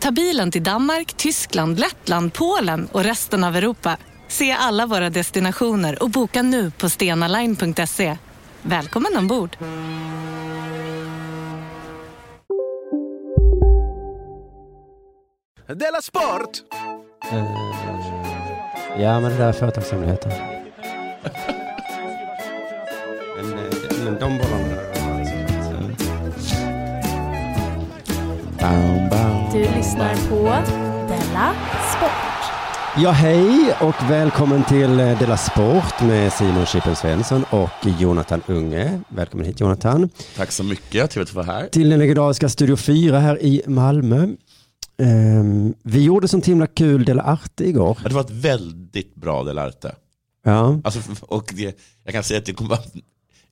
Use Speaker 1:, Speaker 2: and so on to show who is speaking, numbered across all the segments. Speaker 1: Ta bilen till Danmark, Tyskland, Lettland, Polen och resten av Europa. Se alla våra destinationer och boka nu på stenaline.se. Välkommen ombord!
Speaker 2: Della Sport!
Speaker 3: Ja, men det där är företagshemligheter. men, eh, det- men de bollarna... Bam, bam.
Speaker 4: Du lyssnar på Della Sport.
Speaker 3: Ja, hej och välkommen till eh, Della Sport med Simon Chippen Svensson och Jonathan Unge. Välkommen hit Jonathan.
Speaker 2: Tack så mycket, trevligt att vara här.
Speaker 3: Till den legendariska Studio 4 här i Malmö. Ehm, vi gjorde sånt himla kul Della Arte igår.
Speaker 2: Ja, Det var ett väldigt bra Delarte.
Speaker 3: Ja.
Speaker 2: Alltså, f- och det, jag kan säga att det kommer,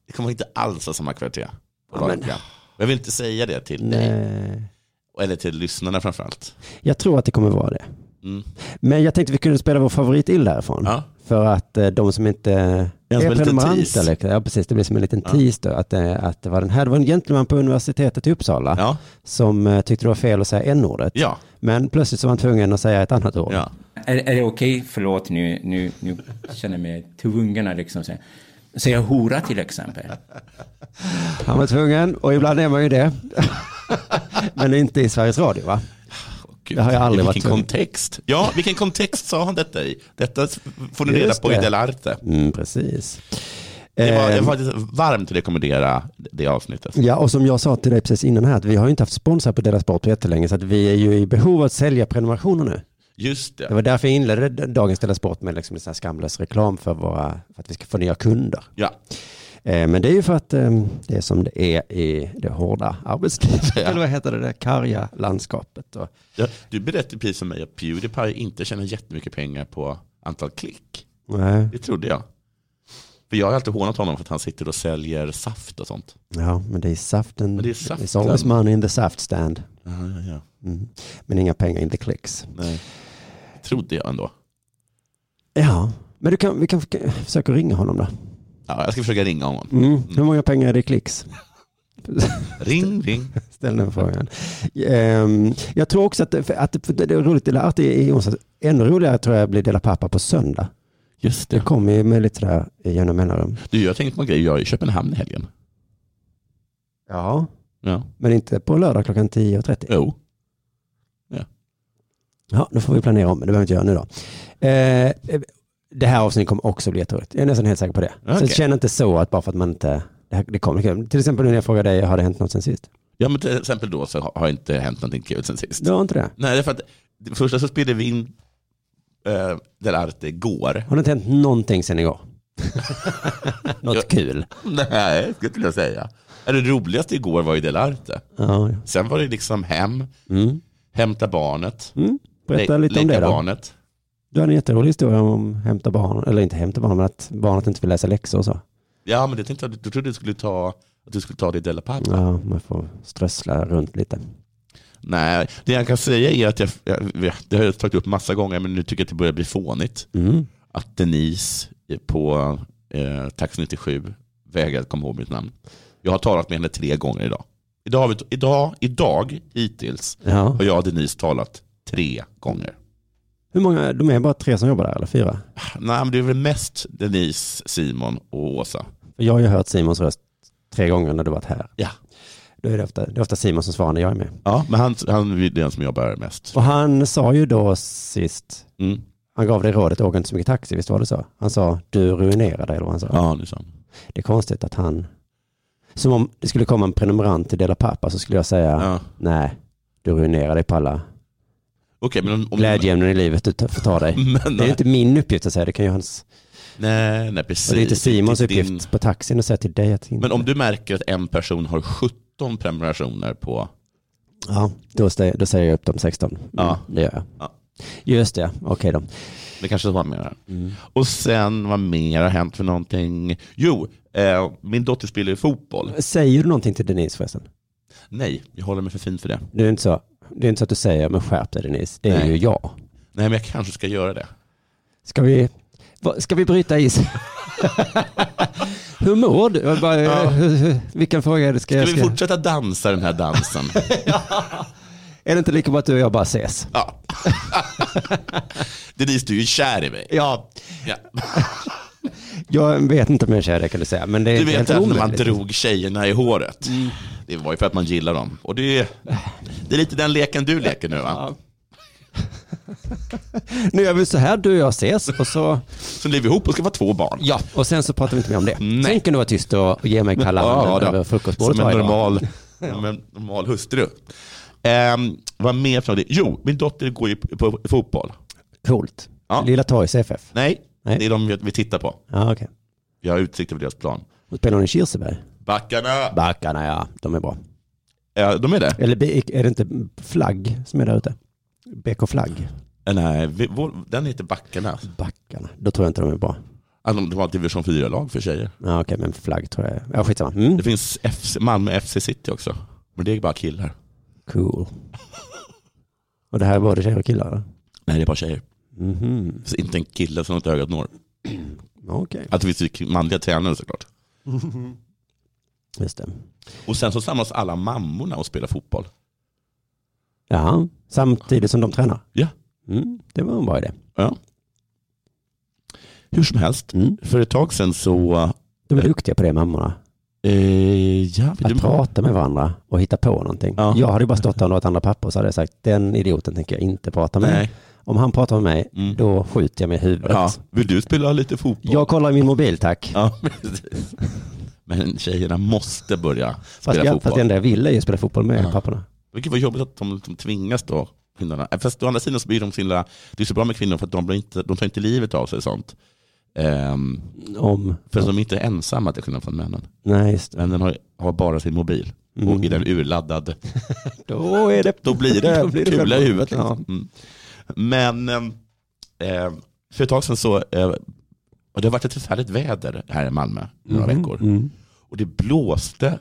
Speaker 2: det kommer inte alls ha samma kvalitet. på
Speaker 3: Ja, men-
Speaker 2: radion. Jag vill inte säga det till dig,
Speaker 3: Nej.
Speaker 2: eller till lyssnarna framförallt.
Speaker 3: Jag tror att det kommer vara det.
Speaker 2: Mm.
Speaker 3: Men jag tänkte vi kunde spela vår favoritill därifrån.
Speaker 2: Ja.
Speaker 3: För att eh, de som inte
Speaker 2: en
Speaker 3: är
Speaker 2: liten
Speaker 3: prenumeranter,
Speaker 2: tease.
Speaker 3: eller- ja precis, det blir som en liten
Speaker 2: Ja.
Speaker 3: tease då, att, eh, att det var den här, det var en gentleman på universitetet i Uppsala
Speaker 2: Ja,
Speaker 3: som eh, tyckte det var fel att säga n-ordet,
Speaker 2: ja,
Speaker 3: men plötsligt så var han tvungen att säga ett annat ord.
Speaker 2: ja.
Speaker 5: Är, är det okej? Förlåt, nu, nu, nu känner jag mig tvungen att liksom säga. Säga hora till exempel.
Speaker 3: Han var tvungen, och ibland är man ju det. men inte i Sveriges Radio va?
Speaker 2: Gud,
Speaker 3: Det har jag aldrig
Speaker 2: i
Speaker 3: varit
Speaker 2: vilken
Speaker 3: tvungen.
Speaker 2: kontext? Ja, vilken kontext sa han detta i? Detta får ni reda
Speaker 3: Just
Speaker 2: på i
Speaker 3: det.
Speaker 2: Delarte.
Speaker 3: Mm, precis.
Speaker 2: Det var, jag
Speaker 3: Ehm, Mm.
Speaker 2: får faktiskt varmt rekommendera det avsnittet.
Speaker 3: Ja, och som jag sa till dig precis innan här, att vi har ju inte haft sponsor på Della Sport på jättelänge, så att vi är ju i behov av att sälja prenumerationer nu.
Speaker 2: Just det.
Speaker 3: Det var därför jag inledde dagens Della Sport med liksom en sån här skamlös reklam för, våra, för att vi ska få nya kunder.
Speaker 2: Ja,
Speaker 3: Eh, men det är ju för att eh, det är som det är i det hårda arbetslivet, eller vad heter det, det karga landskapet. Och,
Speaker 2: Ja, du berättade precis för mig att Pewdiepie inte tjänar jättemycket pengar på antal klick.
Speaker 3: nej,
Speaker 2: Det trodde jag. För jag har alltid hånat honom för att han sitter och säljer saft och sånt.
Speaker 3: ja, men det är saften.
Speaker 2: Men Mm. det är
Speaker 3: It's
Speaker 2: saften.
Speaker 3: always money in the saft stand.
Speaker 2: Ja, ja, ja.
Speaker 3: Mm. Men inga pengar in the clicks.
Speaker 2: Nej. Trodde jag ändå.
Speaker 3: Ja, men du kan, vi kan försöka- försöka ringa honom då.
Speaker 2: Ja, jag ska försöka ringa honom.
Speaker 3: Mm. Hur många pengar är det i klicks?
Speaker 2: Ring, ring.
Speaker 3: Ställ den frågan. Ehm, jag tror också att, för att för det är roligt, eller att det är i onsdags. Ännu roligare tror jag blir Dela Pappa på söndag.
Speaker 2: Just
Speaker 3: Det kommer ju med lite sådär genom mellanrum.
Speaker 2: Du, jag tänkte på en grej. Jag är i Köpenhamn i helgen.
Speaker 3: Ja.
Speaker 2: Ja.
Speaker 3: Men inte på lördag klockan 10.30.
Speaker 2: Jo.
Speaker 3: Ja, då får vi planera om, men det behöver vi inte göra nu då. Eh, det här avsnittet kommer också bli jätteroligt. Jag är nästan helt säker på det. Så
Speaker 2: Okej.
Speaker 3: känn inte så att bara för att man inte, det, här, det kommer kul. Till exempel nu när jag frågar dig, har det hänt något sen sist?
Speaker 2: Ja, men till exempel då så har inte hänt någonting kul sen sist.
Speaker 3: Du har inte det?
Speaker 2: Nej, det är för att det första så spelade vi in äh, Delarte igår.
Speaker 3: Har det inte hänt någonting sen igår? något kul?
Speaker 2: Nej, skulle jag säga. Ja, Det roligaste igår var ju Delarte.
Speaker 3: Ja, ja.
Speaker 2: Sen var det liksom hem,
Speaker 3: Mm.
Speaker 2: hämta barnet,
Speaker 3: Mm. Berätta
Speaker 2: le-
Speaker 3: lite om
Speaker 2: leka
Speaker 3: det då.
Speaker 2: barnet.
Speaker 3: Du hade en jätterolig historia om hämta barn, eller inte hämta barn, men att barnet inte vill läsa läxor och så.
Speaker 2: Ja, men det tänkte jag, du trodde du skulle ta, att du skulle ta det i Della Pappa.
Speaker 3: Ja, man får strössla runt lite.
Speaker 2: Nej, det jag kan säga är att jag, jag vet, det har jag tagit upp massa gånger, men nu tycker jag att det börjar bli fånigt.
Speaker 3: Mm.
Speaker 2: Att Denise på eh, Tax 97 vägrade komma ihåg mitt namn. Jag har talat med henne tre gånger idag. Idag, har vi, idag, idag hittills,
Speaker 3: Ja.
Speaker 2: har jag och Denise talat tre gånger.
Speaker 3: Hur många, de är bara tre som jobbar där, eller fyra?
Speaker 2: Nej, men det är väl mest Denise, Simon och Åsa.
Speaker 3: För Jag har ju hört Simons röst tre gånger när du varit här.
Speaker 2: Ja.
Speaker 3: Då är det, ofta, det är ofta Simon som svarar när jag är med.
Speaker 2: Ja, men han, han är den som jobbar mest.
Speaker 3: Och han sa ju då sist,
Speaker 2: Mm.
Speaker 3: han gav dig rådet, åk inte så mycket taxi, visst var det så? Han sa, du ruinerar dig, eller vad han sa.
Speaker 2: Ja, det är sant.
Speaker 3: Det är konstigt att han, som om det skulle komma en prenumerant till Dela Pappa så skulle jag säga,
Speaker 2: Ja.
Speaker 3: nej, du ruinerar dig på alla
Speaker 2: Okej, men om, om,
Speaker 3: Glädjeämnen i livet du tar- får ta dig.
Speaker 2: Men,
Speaker 3: Det är
Speaker 2: nej.
Speaker 3: inte min uppgift att säga det, kan ju hans.
Speaker 2: Nej, nej, precis.
Speaker 3: Och det är inte Simons
Speaker 2: Det är din-
Speaker 3: uppgift på taxin att säga till dig att inte.
Speaker 2: Men om du märker att en person har 17 prenumerationer på...
Speaker 3: Ja, då, stä- då säger jag upp de 16. Mm,
Speaker 2: Ja.
Speaker 3: Det gör jag.
Speaker 2: Ja.
Speaker 3: Just det, okej då.
Speaker 2: Det kanske var mer. Och sen, vad mer har hänt för någonting? Jo, eh, min dotter spelar ju fotboll.
Speaker 3: Säger du någonting till Denise förresten?
Speaker 2: Nej, jag håller mig för fin för det.
Speaker 3: Det är inte så, det är inte så att du säger, men skärp dig Denise. Det är
Speaker 2: Nej.
Speaker 3: ju jag.
Speaker 2: Nej, men jag kanske ska göra det.
Speaker 3: Ska vi, va- ska vi bryta is? hur mår du? Jag Bara, hur- hur- Vilken fråga är det? Ska
Speaker 2: Ska
Speaker 3: jag,
Speaker 2: vi
Speaker 3: ska,
Speaker 2: fortsätta dansa den här dansen?
Speaker 3: är det inte lika bra att du och jag bara ses?
Speaker 2: ja. Denise, du är ju kär i mig.
Speaker 3: Ja,
Speaker 2: Ja.
Speaker 3: jag vet inte om jag är kär, det kan du säga. Men det är
Speaker 2: Du
Speaker 3: helt
Speaker 2: vet att när man
Speaker 3: omöjligt.
Speaker 2: drog tjejerna i håret,
Speaker 3: Mm.
Speaker 2: det var ju för att man gillar dem. Och det är, det är lite den leken du leker nu va?
Speaker 3: Nu gör vi så här, du och jag ses och så...
Speaker 2: Så lever vi ihop och ska få två barn.
Speaker 3: Ja, och sen så pratar vi inte mer om det.
Speaker 2: Nej.
Speaker 3: Sen kan du vara tyst och och ge mig kalla handen
Speaker 2: då.
Speaker 3: över frukostbordet
Speaker 2: Som en
Speaker 3: varje dag.
Speaker 2: normal, som en normal hustru. Um, vad mer för någonting? Jo, min dotter går ju på, på fotboll.
Speaker 3: Coolt.
Speaker 2: Ja.
Speaker 3: Lilla Toys FF.
Speaker 2: Nej,
Speaker 3: Nej.
Speaker 2: det är de vi tittar på.
Speaker 3: Ja, okej.
Speaker 2: Vi har utsikt över deras plan.
Speaker 3: Och Spelar hon i Kirseberg?
Speaker 2: Backarna!
Speaker 3: Backarna, ja. De är bra.
Speaker 2: Ja, de är det?
Speaker 3: Eller bi- är det inte Flagg som är där ute? BK Flagg?
Speaker 2: Eh, Nej, vi, vår, den heter Backarna.
Speaker 3: Backarna. Då tror jag inte de är bra.
Speaker 2: Ah, De de har ett division 4-lag för tjejer.
Speaker 3: Ja, okej, men Flagg tror jag. Ja, skitsamma. Mm.
Speaker 2: Det finns FC, Malmö FC City också. Men det är bara killar.
Speaker 3: Cool. Och det här är både tjejer och killar? eller?
Speaker 2: Nej, det är bara tjejer.
Speaker 3: Mhm.
Speaker 2: Så inte en kille som inte ögat når.
Speaker 3: Okej.
Speaker 2: Att det finns ju manliga tränare såklart.
Speaker 3: Just det.
Speaker 2: Och sen så samlas alla mammorna och spelar fotboll.
Speaker 3: Ja, samtidigt som de tränar.
Speaker 2: Ja.
Speaker 3: Mm, det var en bra idé.
Speaker 2: Ja. Hur som helst,
Speaker 3: Mm.
Speaker 2: för ett tag sedan så...
Speaker 3: De är duktiga på det, mammorna.
Speaker 2: Eh, ja,
Speaker 3: Att
Speaker 2: vill du,
Speaker 3: prata med varandra och hitta på någonting.
Speaker 2: Ja.
Speaker 3: Jag hade ju bara stått där och låtit andra papper och så hade jag sagt, den idioten tänker jag inte prata med.
Speaker 2: nej.
Speaker 3: Om han pratar med mig,
Speaker 2: Mm.
Speaker 3: då skjuter jag mig i huvudet.
Speaker 2: Ja. vill du spela lite fotboll?
Speaker 3: Jag kollar i min mobil, tack.
Speaker 2: Ja, precis. Men tjejerna måste börja
Speaker 3: Fast,
Speaker 2: spela
Speaker 3: jag, fast
Speaker 2: fotboll.
Speaker 3: det enda jag ville är ju spela fotboll med
Speaker 2: Ja.
Speaker 3: papporna.
Speaker 2: Vilket var jobbigt att de, de tvingas då, kvinnorna. Eh, Fast å andra sidan så blir de så himla, det är så bra med kvinnor för att de, blir inte, de tar inte livet av sig och sånt. Ehm,
Speaker 3: Om...
Speaker 2: för att de är inte ensamma till skillnad från männen.
Speaker 3: Nej, just det.
Speaker 2: Männen har, har bara sin mobil.
Speaker 3: Mm.
Speaker 2: Och är den urladdad
Speaker 3: Då är det...
Speaker 2: då blir det,
Speaker 3: Då blir det
Speaker 2: kula i
Speaker 3: självmord.
Speaker 2: huvudet. Liksom. Mm. Men eh, för ett tag sedan så, eh, och det har varit ett förfärligt väder här i Malmö några veckor.
Speaker 3: Mm.
Speaker 2: Och det blåste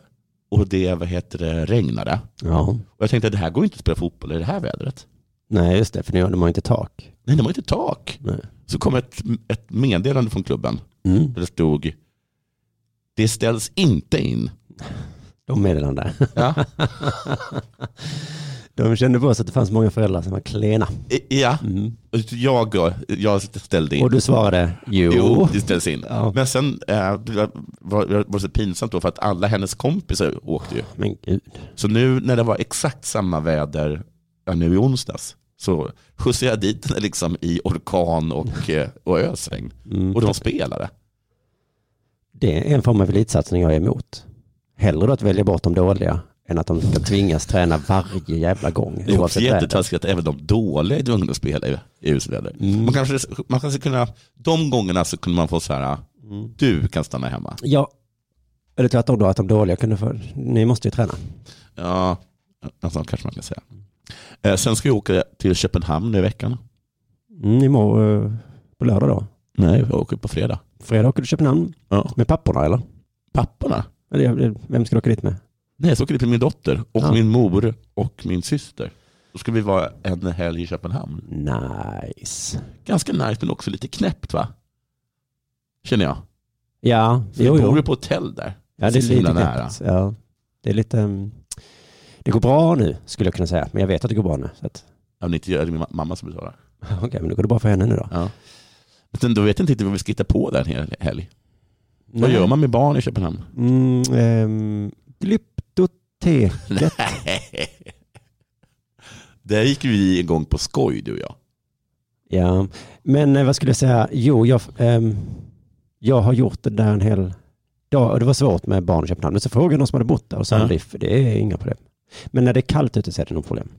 Speaker 2: och det vad heter det, regnade.
Speaker 3: Ja.
Speaker 2: Och jag tänkte att det här går ju inte att spela fotboll i det här vädret.
Speaker 3: Nej, just det, för nu har de har ju inte tak.
Speaker 2: Nej, de har inte tak.
Speaker 3: Nej.
Speaker 2: Så kom ett, ett meddelande från klubben
Speaker 3: Mm.
Speaker 2: där det stod det ställs inte in.
Speaker 3: De meddelande.
Speaker 2: Ja.
Speaker 3: De kände på sig att det fanns många föräldrar som var klena.
Speaker 2: I- ja. Och Jag, jag ställde in.
Speaker 3: Och du svarade, jo.
Speaker 2: Jo, det ställs in.
Speaker 3: Ja.
Speaker 2: Men sen eh, det var, var, var så pinsamt då för att alla hennes kompisar åkte ju.
Speaker 3: Men gud.
Speaker 2: Så nu när det var exakt samma väder ja, nu i onsdags så skjutsade jag dit henne liksom i orkan och, eh, och ösregn.
Speaker 3: Mm.
Speaker 2: Och de spelade.
Speaker 3: Det är en form av elitsatsning jag är emot. Hellre då att välja bort de dåliga än att de ska tvingas träna varje jävla gång.
Speaker 2: Det är också
Speaker 3: oavsett väder.
Speaker 2: jättetaskigt att även de dåliga är tvungna att spela i, i husväder. Man kanske, man kanske kunna, de gångerna så kunde man få så här, du kan stanna hemma.
Speaker 3: Mm. Ja, eller tvärtom då att de dåliga kunde få, ni måste ju träna.
Speaker 2: Ja, alltså, kanske man kan säga. Eh, sen ska jag åka till Köpenhamn nu i veckan.
Speaker 3: Mm, imorgon, eh, på lördag då.
Speaker 2: Nej, jag åker på fredag.
Speaker 3: Fredag åker du till Köpenhamn
Speaker 2: Ja.
Speaker 3: med papporna eller?
Speaker 2: Papporna?
Speaker 3: eller? eller Vem ska du åka dit med?
Speaker 2: Nej, så åker det med min dotter och
Speaker 3: Ja.
Speaker 2: min mor och min syster. Då ska vi vara en helg i Köpenhamn.
Speaker 3: Nice.
Speaker 2: Ganska nice men också lite knäppt va? Känner jag.
Speaker 3: Ja,
Speaker 2: Så
Speaker 3: jo,
Speaker 2: vi
Speaker 3: jo.
Speaker 2: bor ju på hotell där.
Speaker 3: Ja, det
Speaker 2: så
Speaker 3: är lite
Speaker 2: himla nära.
Speaker 3: knäppt. Ja, det är lite... mm, Det går bra nu skulle jag kunna säga, men jag vet att det går bra nu. Så att,
Speaker 2: Ja, men inte jag, det är min ma- mamma som betalar.
Speaker 3: okej, men det går det bra för henne nu då.
Speaker 2: Ja. Men sen, då vet jag inte riktigt vad vi ska hitta på där en hel helg. Vad
Speaker 3: Nej.
Speaker 2: gör man med barn i Köpenhamn?
Speaker 3: Mm, ehm, glyptotek.
Speaker 2: där gick vi igång på skoj du och jag.
Speaker 3: Ja, men eh, vad skulle jag säga? Jo, jag, ehm, jag har gjort det där en hel dag och det var svårt med barn i Köpenhamn. Men så frågade jag någon som hade bott där och sa
Speaker 2: Ja.
Speaker 3: ja. det är inga problem. Men när det är kallt ute så är det något problem.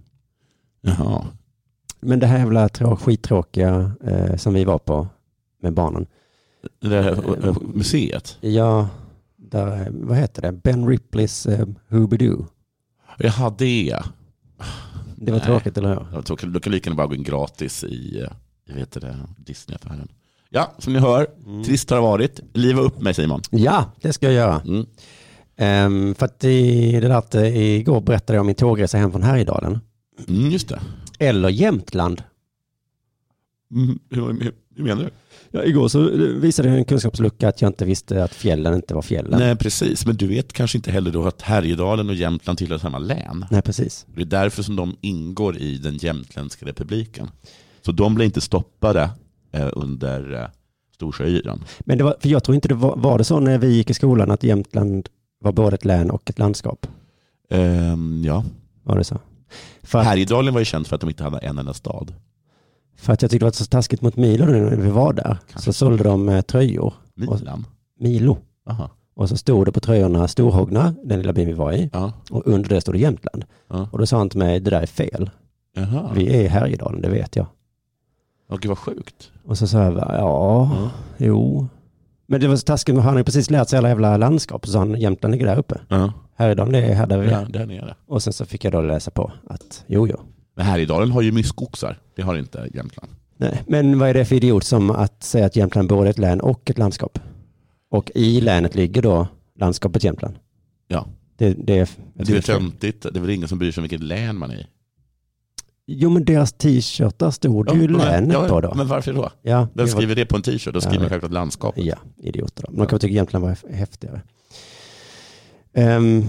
Speaker 2: Jaha.
Speaker 3: men det här jävla trå- skittråkiga eh, som vi var på med barnen.
Speaker 2: Det där eh, museet.
Speaker 3: Ja, där, eh, vad heter det? Ben Ripleys eh, Hoobidoo.
Speaker 2: Jaha, det.
Speaker 3: Det var
Speaker 2: Nej.
Speaker 3: tråkigt, eller hur?
Speaker 2: Ja, då kan- Då kan lika gärna bara gå in gratis i eh, vad heter det, Disneyaffären. Ja, som ni hör, trist har det varit. Liva upp mig Simon.
Speaker 3: Ja, det ska jag göra.
Speaker 2: Mm.
Speaker 3: Ehm, för att i, det där att, eh, igår berättade jag om min tågresa hem från Härjedalen.
Speaker 2: Mm, just det.
Speaker 3: Eller Jämtland.
Speaker 2: Mm, hur, hur, hur menar du?
Speaker 3: Ja, igår så eh, visade jag en kunskapslucka att jag inte visste att fjällen inte var fjällen.
Speaker 2: Nej, precis. Men du vet kanske inte heller då att Härjedalen och Jämtland tillhör samma län.
Speaker 3: Nej, precis.
Speaker 2: Det är därför som de ingår i den jämtländska republiken. Så de blir inte stoppade eh, under eh, Storsjöyran.
Speaker 3: Men det var, för jag tror inte det var, var det så när vi gick i skolan att Jämtland var både ett län och ett landskap.
Speaker 2: Ehm, ja.
Speaker 3: Var det så? För att,
Speaker 2: Härjedalen var ju känt för att de inte hade en enda stad.
Speaker 3: för att jag tyckte det var så taskigt mot Milo nu när vi var där. Så
Speaker 2: Kanske.
Speaker 3: sålde de eh, tröjor,
Speaker 2: Milan?
Speaker 3: Milo.
Speaker 2: Aha.
Speaker 3: Och så stod det på tröjorna Storhogna, den lilla byn vi var i.
Speaker 2: Ja.
Speaker 3: Och under det stod det Jämtland.
Speaker 2: Ja.
Speaker 3: Och då sa han till mig, det där är fel.
Speaker 2: Jaha.
Speaker 3: Vi är i Härjedalen, det vet jag.
Speaker 2: Och gud vad sjukt.
Speaker 3: Och så sa jag, bara, ja,
Speaker 2: Ja.
Speaker 3: jo. Men det var så taskigt, men han har ju precis lärt sig alla jävla landskap. Så sa han, Jämtland ligger där uppe.
Speaker 2: Ja.
Speaker 3: Härjedalen, det är här där vi är.
Speaker 2: Där, där nere.
Speaker 3: Och sen så fick jag då läsa på att, jo, jo.
Speaker 2: Men Härjedalen har ju myskoxar. Det har inte Jämtland.
Speaker 3: Nej, men vad är det för idiot som att säga att Jämtland både är ett län och ett landskap? Och i länet ligger då landskapet Jämtland.
Speaker 2: Ja.
Speaker 3: Det, det är...
Speaker 2: Det är väl töntigt. Det är väl ingen som bryr sig om vilket län man är i.
Speaker 3: Jo, men deras t-shirtar stod ju
Speaker 2: men-
Speaker 3: länet
Speaker 2: ja,
Speaker 3: på då.
Speaker 2: Men varför då?
Speaker 3: ja, det
Speaker 2: Vem
Speaker 3: var-
Speaker 2: skriver det på en t-shirt? Då skriver
Speaker 3: Ja,
Speaker 2: man självklart landskap.
Speaker 3: Ja, idioter då. Man kan väl tycka Jämtland var hef- häftigare. Ehm,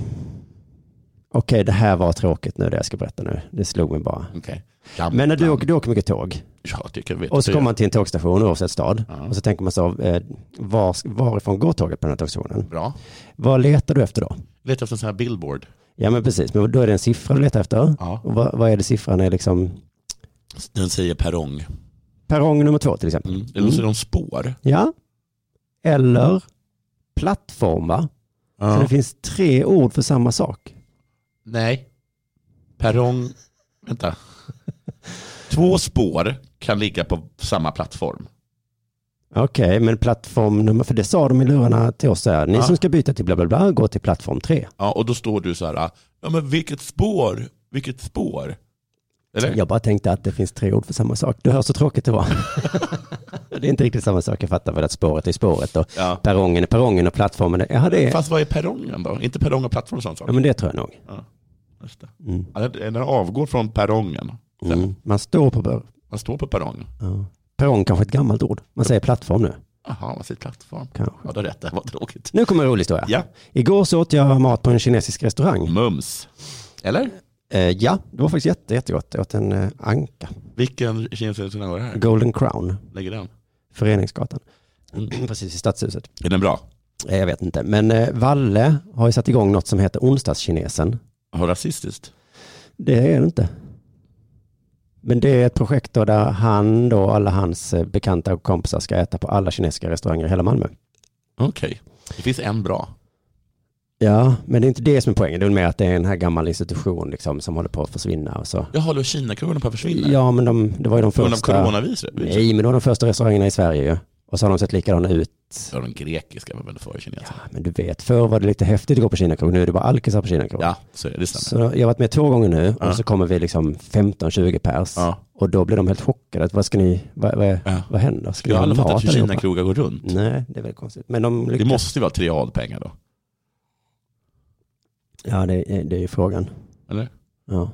Speaker 3: Okej, det här var tråkigt nu det jag ska berätta nu. Det slog mig bara.
Speaker 2: Okej.
Speaker 3: Men när du
Speaker 2: Jämtland.
Speaker 3: åker, du åker mycket tåg
Speaker 2: Ja, det kan vi veta.
Speaker 3: och så
Speaker 2: Det
Speaker 3: kommer man till en tågstation oavsett stad
Speaker 2: Ja.
Speaker 3: och så tänker man så, eh, var, varifrån går tåget på den här tågstationen?
Speaker 2: Bra.
Speaker 3: Vad letar du efter då?
Speaker 2: Leta efter en sån här billboard.
Speaker 3: Ja men precis, men då är det en siffra du letar efter.
Speaker 2: Ja.
Speaker 3: Och vad, vad är det siffran är liksom?
Speaker 2: Den säger perrong.
Speaker 3: Perrong nummer två till exempel.
Speaker 2: Mm. Eller så är de spår.
Speaker 3: Ja. Eller plattformar. Så det finns tre ord för samma sak.
Speaker 2: Nej. Perrong. Vänta. Två spår kan ligga på samma plattform.
Speaker 3: Okej, men plattform nummer, för det sa de i lurarna till oss så här, ni
Speaker 2: Ja.
Speaker 3: som ska byta till bla bla bla, gå till plattform tre.
Speaker 2: Ja, och då står du så här, ja men vilket spår, vilket spår. Eller?
Speaker 3: Jag bara tänkte att det finns tre ord för samma sak. Du hör så tråkigt det var. det är inte riktigt samma sak, jag fattar väl att spåret är spåret och
Speaker 2: Ja.
Speaker 3: perrongen är perrongen och plattformen är, ja det är,
Speaker 2: Fast vad är perrongen då? Inte perrong och plattform och sånt?
Speaker 3: ja men det tror jag nog.
Speaker 2: Just det.
Speaker 3: Mm.
Speaker 2: Ja, det- Den avgår från perrongen. Sen.
Speaker 3: Mm. Man står på, bör-
Speaker 2: Man står på perrongen.
Speaker 3: ja. perrong kanske är ett gammalt ord, man säger plattform nu.
Speaker 2: Jaha, man säger plattform.
Speaker 3: Kanske.
Speaker 2: Ja, du har rätt. Det här var tråkigt.
Speaker 3: Nu kommer en rolig historia.
Speaker 2: Ja.
Speaker 3: Igår så åt jag mat på en kinesisk restaurang.
Speaker 2: Mums. Eller?
Speaker 3: Eh, ja, det var faktiskt jätte, jättegott. Jag åt en eh, anka,
Speaker 2: Vilken kinesisk restaurang var det här?
Speaker 3: Golden Crown,
Speaker 2: Lägger den?
Speaker 3: Föreningsgatan,
Speaker 2: Mm.
Speaker 3: precis i Stadshuset.
Speaker 2: Är den bra?
Speaker 3: Eh, Jag vet inte, men eh, Valle har ju satt igång något som heter onsdagskinesen.
Speaker 2: Har rasistiskt?
Speaker 3: Det är det inte. Men det är ett projekt då där han då, alla hans eh, bekanta och kompisar ska äta på alla kinesiska restauranger i hela Malmö.
Speaker 2: Okej. Det finns en bra.
Speaker 3: Ja, men det är inte det som är poängen. Det är väl mer att det är en här gammal institution liksom, som håller på att försvinna. Och så.
Speaker 2: Jag håller Kinakurvorna på att försvinna.
Speaker 3: Ja, men de, det var ju de
Speaker 2: På grund av
Speaker 3: första...
Speaker 2: coronaviruset?
Speaker 3: Nej, men det var de första restaurangerna i Sverige ju. Och så har de sett likadana ut. Ah,
Speaker 2: Ja, de grekiska var väl före kinesiska?
Speaker 3: Men du vet, förr var det lite häftigt att gå på Kinakrog. Nu är det bara alkisar på Kinakrog.
Speaker 2: Ja, så är det. det stämmer.
Speaker 3: Så jag har varit med två gånger nu
Speaker 2: Ja.
Speaker 3: och så kommer vi liksom 15-20 pers.
Speaker 2: Ja.
Speaker 3: Och då blir de helt chockade. Att Vad, ska ni, vad, vad,
Speaker 2: Ja.
Speaker 3: vad händer? Ska
Speaker 2: Jag har
Speaker 3: ni
Speaker 2: aldrig
Speaker 3: ha mat
Speaker 2: fattat hur
Speaker 3: allihopa?
Speaker 2: Kinakrogar går runt.
Speaker 3: Nej, det är väldigt konstigt. Men de
Speaker 2: Det
Speaker 3: lyckas.
Speaker 2: måste ju vara triadpengar då.
Speaker 3: Ja, det, är- det är ju frågan.
Speaker 2: Eller?
Speaker 3: Ja.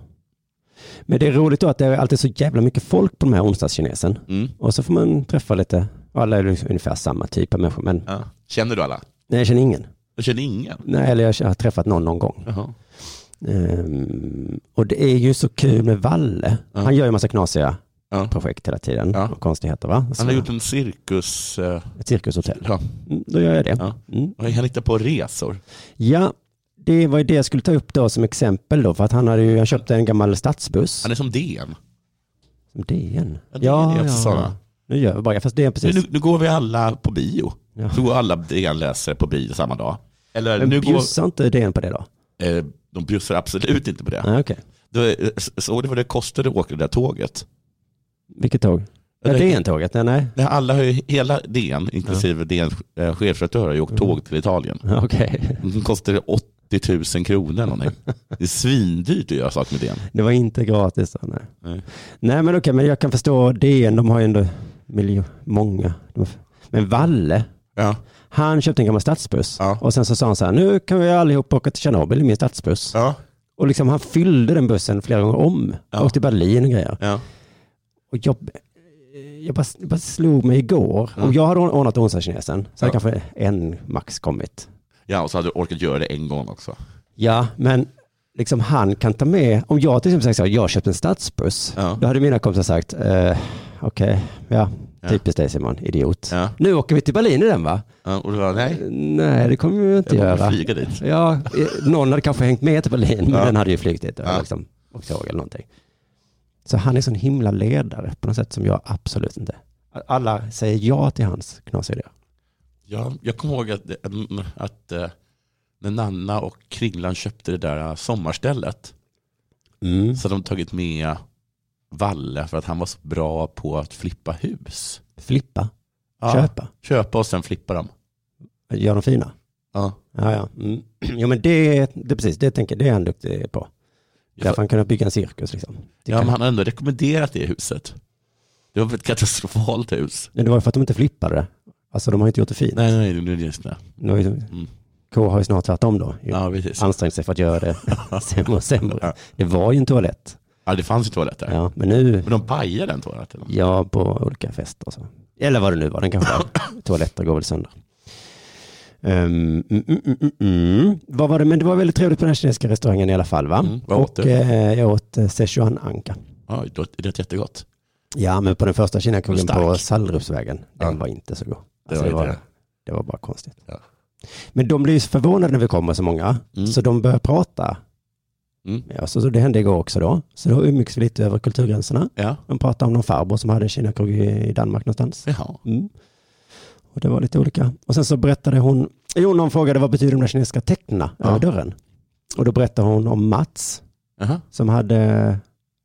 Speaker 3: Men det är roligt då att det är alltid så jävla mycket folk på de här onsdagskinesen.
Speaker 2: Mm.
Speaker 3: Och så får man träffa lite, alla är liksom ungefär samma typ av människor. Men
Speaker 2: Ja. Känner du alla?
Speaker 3: nej, jag känner ingen.
Speaker 2: Jag känner ingen.
Speaker 3: Nej, eller jag har träffat någon någon gång.
Speaker 2: Jaha.
Speaker 3: Ehm, och det är ju så kul med Valle.
Speaker 2: Ja.
Speaker 3: Han gör ju massa knasiga
Speaker 2: Ja.
Speaker 3: projekt hela tiden.
Speaker 2: Ja.
Speaker 3: Och konstigheter va?
Speaker 2: Han
Speaker 3: Så-
Speaker 2: har gjort en cirkus... eh,
Speaker 3: Ett cirkushotell.
Speaker 2: Ja.
Speaker 3: Mm, Då gör jag det.
Speaker 2: Ja.
Speaker 3: Mm.
Speaker 2: Han hittar på resor.
Speaker 3: ja, det var ju det jag skulle ta upp då som exempel då. För att han hade ju, han köpte en gammal stadsbuss.
Speaker 2: Han är som DN.
Speaker 3: Som DN.
Speaker 2: Ja, det är det också, sådana.
Speaker 3: Nu gör vi bara, fast DN
Speaker 2: Nu,
Speaker 3: precis.
Speaker 2: nu, nu går vi alla på bio.
Speaker 3: Ja.
Speaker 2: Så går alla DN-läsare på bio samma dag. Eller
Speaker 3: Men
Speaker 2: nu går...
Speaker 3: bjussar inte DN på det då?
Speaker 2: Eh, de bjussar absolut inte på det.
Speaker 3: Nej, okej.
Speaker 2: Det var- Såg du vad det kostade att åka det där tåget?
Speaker 3: Vilket tåg? Ja,
Speaker 2: det-
Speaker 3: DN-tåget? Ja, nej.
Speaker 2: Nej, alla har ju, hela DN, inklusive DNs eh, chefredaktör, har ju åkt tåg till Italien.
Speaker 3: Ja, Okej.
Speaker 2: Det kostar 80 000 kronor eller någonting. Det är svindyrt att göra saker med DN.
Speaker 3: Det var inte gratis. så Nej.
Speaker 2: Nej.
Speaker 3: Nej. men okej, men jag kan förstå DN. De har ju ändå miljo, många. De har- Men Valle,
Speaker 2: Ja,
Speaker 3: han köpte en gammal stadsbuss.
Speaker 2: Ja.
Speaker 3: Och sen så sa han så här, nu kan vi allihop åka till Tjernobyl i min stadsbuss.
Speaker 2: ja,
Speaker 3: Och liksom han fyllde den bussen flera gånger om.
Speaker 2: Ja.
Speaker 3: Och till Berlin och grejer.
Speaker 2: ja.
Speaker 3: Och jag, jag bara, jag bara slog mig igår. Om jag hade ordnat onsdagskinesen så hade
Speaker 2: Ja.
Speaker 3: kanske en max kommit.
Speaker 2: Ja, och så hade du orkat göra det en gång också.
Speaker 3: Ja, men liksom han kan ta med, om jag till exempel sagt så här, jag köpte en stadsbuss,
Speaker 2: Ja.
Speaker 3: då hade mina kompisar sagt, eh, okej, ja,
Speaker 2: Ja.
Speaker 3: typiskt dig Simon, idiot.
Speaker 2: Ja.
Speaker 3: Nu åker vi till Berlin i den va?
Speaker 2: Ja, och du bara, nej,
Speaker 3: Nej, det kommer vi inte
Speaker 2: jag kommer
Speaker 3: göra.
Speaker 2: flyga dit.
Speaker 3: Ja, eh, någon hade kanske hängt med till Berlin, men
Speaker 2: Ja.
Speaker 3: den hade ju flugit dit och
Speaker 2: Ja.
Speaker 3: liksom, åkt tåg eller någonting. Så han är sån himla ledare på något sätt som jag absolut inte. Alla säger ja till hans knasiga
Speaker 2: Ja, jag kommer ihåg att, mm, att eh, när Nanna och Kringlan köpte det där eh, sommarstället
Speaker 3: idé.
Speaker 2: så hade de tagit med Valle för att han var så bra på att flippa hus.
Speaker 3: Flippa,
Speaker 2: Ja,
Speaker 3: köpa,
Speaker 2: Köpa och sen flippa dem.
Speaker 3: gör dem fina.
Speaker 2: Ja.
Speaker 3: Ja, ja. Mm. ja men det, det, precis, det tänker jag, det är han duktig på. Därför han kunde bygga en cirkus liksom. Det,
Speaker 2: Ja,
Speaker 3: kan-
Speaker 2: men han har ändå rekommenderat det huset. Det var ett katastrofalt hus.
Speaker 3: Nej, det var ju för att de inte flippade det. Alltså de har ju inte gjort det fint.
Speaker 2: Nej, nej, nej, just det.
Speaker 3: Det var ju- K har ju snart tvärtom då.
Speaker 2: Ja, precis.
Speaker 3: Ansträngt sig för att göra det sämre och sämre. Det var ju en toalett.
Speaker 2: Ja, det fanns ju toalett där.
Speaker 3: Ja, men nu,
Speaker 2: Men de pajade den toaletten.
Speaker 3: ja på olika fester och så. Eller vad det nu var, den kanske var. Toaletter går väl sönder. Ehm, mm, mm, mm, mm. Vad var det? Men det var väldigt trevligt på den här kinesiska restaurangen i alla fall va?
Speaker 2: Mm, vad åt
Speaker 3: och
Speaker 2: du?
Speaker 3: eh, jag åt eh, Sichuan anka.
Speaker 2: Ja, det lät jättegott.
Speaker 3: Ja, men på den första kinakrogen
Speaker 2: Stark.
Speaker 3: på Sallerupsvägen, den
Speaker 2: Ja.
Speaker 3: var inte så god.
Speaker 2: Det
Speaker 3: Alltså,
Speaker 2: var
Speaker 3: det, var,
Speaker 2: inte det.
Speaker 3: det var bara konstigt.
Speaker 2: Ja.
Speaker 3: Men de blir ju så förvånade när vi kommer så många,
Speaker 2: Mm.
Speaker 3: så de börjar prata.
Speaker 2: Mm.
Speaker 3: Ja, så, så det hände igår också då. Så då umgicks vi lite över kulturgränserna.
Speaker 2: Ja,
Speaker 3: De pratade om någon farbror som hade en kinakrog i i Danmark någonstans.
Speaker 2: jaha.
Speaker 3: Mm. Och det var lite olika. Och sen så berättade hon, jo någon frågade vad betyder de där kinesiska tecknen
Speaker 2: Ja.
Speaker 3: över dörren? Och då berättade hon om Mats
Speaker 2: Jaha.
Speaker 3: som hade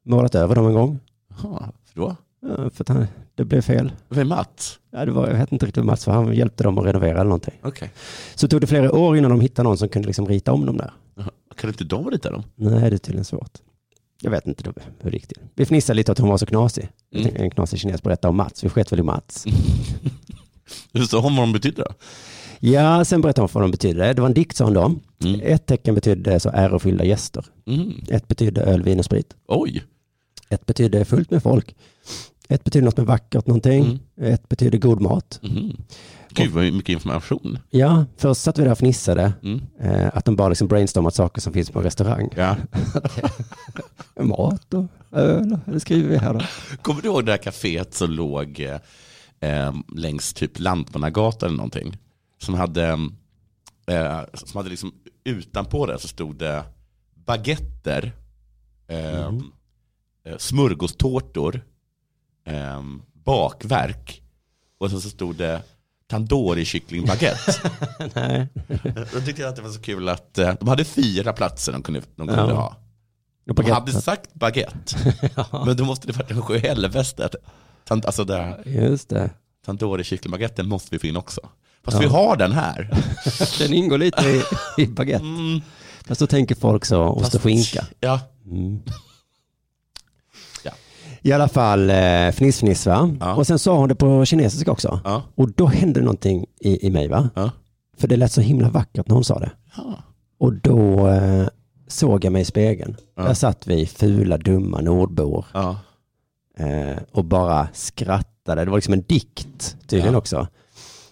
Speaker 3: målat över dem en gång.
Speaker 2: Jaha. För då?
Speaker 3: Ja, För att han, det blev fel.
Speaker 2: Vem är Mats?
Speaker 3: Ja, det var, jag vet inte riktigt vad Mats för han hjälpte dem att renovera eller någonting.
Speaker 2: Okej.
Speaker 3: Så tog det flera år innan de hittade någon som kunde liksom rita om dem där.
Speaker 2: Jaha. Kan inte de rita dem?
Speaker 3: Nej, det är tydligen svårt. Jag vet inte då hur det gick till. Vi fnissade lite att hon var så knasig. Jag
Speaker 2: Mm.
Speaker 3: tänkte, En knasig kines berättade om Mats, vi sket väl i Mats.
Speaker 2: Just det, om vad de betyder då?
Speaker 3: Ja, sen berättade hon vad de betydde. Det var en dikt sa hon då.
Speaker 2: Mm.
Speaker 3: Ett tecken betydde så ärofyllda gäster.
Speaker 2: Mm.
Speaker 3: Ett betydde öl, vin och sprit.
Speaker 2: Oj,
Speaker 3: Ett betydde fullt med folk. Ett betydde något med vackert någonting. Ett betydde god mat.
Speaker 2: mm. gud vad mycket information.
Speaker 3: Ja, först satt vi där och fnissade.
Speaker 2: Mm.
Speaker 3: Eh, att de bara liksom brainstormat saker som finns på en restaurang.
Speaker 2: Ja.
Speaker 3: Mat och öl, det skriver vi här då.
Speaker 2: Kommer du ihåg det där kaféet som låg eh, eh, längs typ Lantmannagatan eller någonting? Som hade, eh, som hade liksom utanpå det så stod det baguetter, eh, eh, smörgåstårtor, eh, bakverk och sen så stod det tandoori kycklingbaguette.
Speaker 3: Nej.
Speaker 2: Då tyckte jag att det var så kul att eh, de hade fyra platser de kunde, de kunde
Speaker 3: Ja.
Speaker 2: ha.
Speaker 3: Och
Speaker 2: De
Speaker 3: baguette.
Speaker 2: hade sagt baguette, men då måste det varit en sjuhelvete. Tant- Alltså där
Speaker 3: Just det.
Speaker 2: tandoori kycklingbaguetten måste vi få in också. Fast
Speaker 3: Ja.
Speaker 2: vi har den här.
Speaker 3: Den ingår lite i, i baguette.
Speaker 2: Mm,
Speaker 3: Fast så tänker folk så, ost och
Speaker 2: fast-
Speaker 3: skinka.
Speaker 2: Ja,
Speaker 3: Mm.
Speaker 2: Ja.
Speaker 3: I alla fall eh, fniss fniss va?
Speaker 2: Ja.
Speaker 3: Och sen sa hon det på kinesiska också.
Speaker 2: ja,
Speaker 3: Och då hände någonting i, i mig va?
Speaker 2: ja.
Speaker 3: För det lät så himla vackert när hon sa det.
Speaker 2: ja.
Speaker 3: Och då eh, såg jag mig i spegeln.
Speaker 2: Ja.
Speaker 3: Där satt vi fula dumma nordbor
Speaker 2: ja.
Speaker 3: eh, och bara skrattade. Det var liksom en dikt tydligen
Speaker 2: Ja.
Speaker 3: också.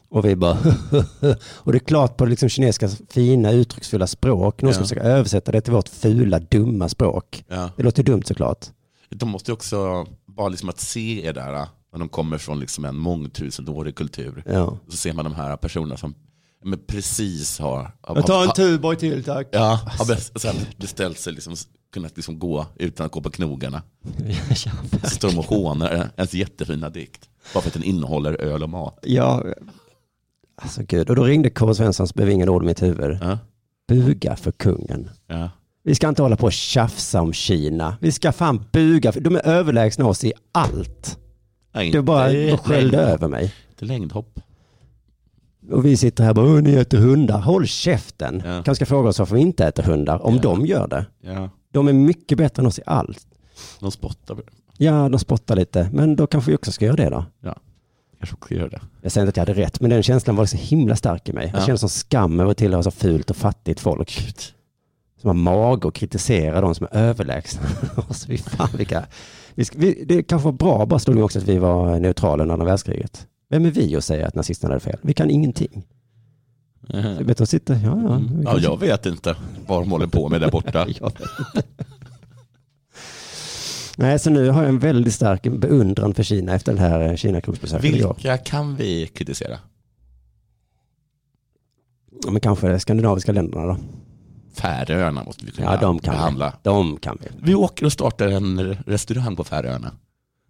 Speaker 3: Och vi bara Och det är klart på det liksom kinesiska fina uttrycksfulla språk. Någon ska
Speaker 2: Ja.
Speaker 3: försöka översätta det till vårt fula dumma språk.
Speaker 2: ja.
Speaker 3: Det låter ju dumt såklart.
Speaker 2: De måste ju också, bara liksom att se er där, eh, när de kommer från liksom en mångtusenårig kultur,
Speaker 3: Ja.
Speaker 2: så ser man de här personerna som men precis har, har,
Speaker 3: Tuborg till tack.
Speaker 2: ja, har
Speaker 3: Alltså.
Speaker 2: best- så här beställt sig, liksom, kunnat liksom gå utan att gå på knogarna. Så står de och hånar ens jättefina dikt. Bara för att den innehåller öl och mat.
Speaker 3: ja. Alltså gud, och då ringde K. Svenssons bevingade ord i mitt huvud.
Speaker 2: Ja,
Speaker 3: Buga för kungen.
Speaker 2: ja.
Speaker 3: Vi ska inte hålla på och tjafsa om Kina. Vi ska fan buga. för De är överlägsna oss i allt.
Speaker 2: Ja,
Speaker 3: Du
Speaker 2: inte
Speaker 3: bara sköljde
Speaker 2: längd-
Speaker 3: över mig.
Speaker 2: Inte längdhopp.
Speaker 3: Och vi sitter här och bara, "Åh, ni äter hundar. Håll käften.
Speaker 2: Ja.
Speaker 3: Kanske ska fråga oss varför vi inte äter hundar, om
Speaker 2: Ja.
Speaker 3: de gör det.
Speaker 2: Ja,
Speaker 3: De är mycket bättre än oss i allt.
Speaker 2: de spottar på det.
Speaker 3: Ja, de spottar lite, men då kanske vi också ska göra det då.
Speaker 2: Kanske också gör det.
Speaker 3: Jag säger inte att jag hade rätt, men den känslan var så himla stark i mig. Jag
Speaker 2: Ja.
Speaker 3: kände sån skam över att tillhöra så fult och fattigt folk. Som har mag och kritisera de som är överlägsna. alltså, vi fan, vilka... vi, ska- vi, det kanske var bra, bara slog mig också att vi var neutrala under andra världskriget. Vem är vi att säga att nazisterna hade fel? Vi kan ingenting. Det är bättre att sitta, ja, ja. vi
Speaker 2: Mm. Ja,
Speaker 3: kan
Speaker 2: jag vet inte vad de håller på med där borta.
Speaker 3: Jag vet inte. Nej, så nu har jag en väldigt stark beundran för Kina efter det här eh, Kina-krogsbesöket igår.
Speaker 2: Vilka kan vi kritisera?
Speaker 3: Ja, Men kanske de skandinaviska länderna då.
Speaker 2: Färöarna måste vi kunna
Speaker 3: Ja, de kan
Speaker 2: behandla.
Speaker 3: vi. De kan vi.
Speaker 2: Vi åker och startar en restaurang på Färöarna.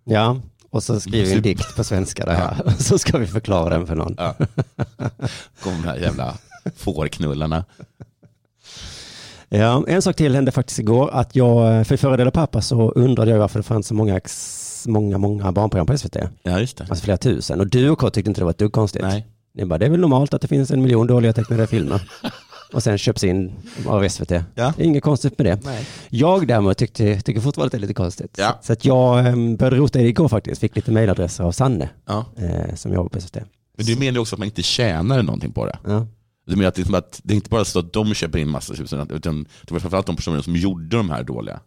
Speaker 3: Ja, och så skriver vi en
Speaker 2: Super.
Speaker 3: dikt på svenska där. här. Så ska vi förklara den för någon.
Speaker 2: Ja. Kommer de här jävla fårknullarna.
Speaker 3: Ja, en sak till hände faktiskt igår. Att jag, för före detta pappa så undrade jag varför det fanns så många, ex- många, många barnprogram på SVT.
Speaker 2: Ja, just det.
Speaker 3: Alltså flera tusen. Och du och K tyckte inte det var ett dugg konstigt.
Speaker 2: Nej.
Speaker 3: Ni bara, det är väl normalt att det finns en miljon dåliga tecknade filmer. Och sen köps in av SVT.
Speaker 2: Ja.
Speaker 3: Det är inget konstigt med det.
Speaker 2: Nej.
Speaker 3: Jag däremot tyckte, tycker fortfarande att det är lite konstigt.
Speaker 2: Ja.
Speaker 3: Så att jag em, började rota i det igår faktiskt. Fick lite mejladresser av Sanne
Speaker 2: Ja.
Speaker 3: eh, som jobbar på SVT.
Speaker 2: Men du menar ju också att man inte tjänar någonting på det?
Speaker 3: Ja.
Speaker 2: Du menar att det, är som att det är inte bara så att de köper in massa tusen, utan det var framförallt de personer som gjorde de här dåliga,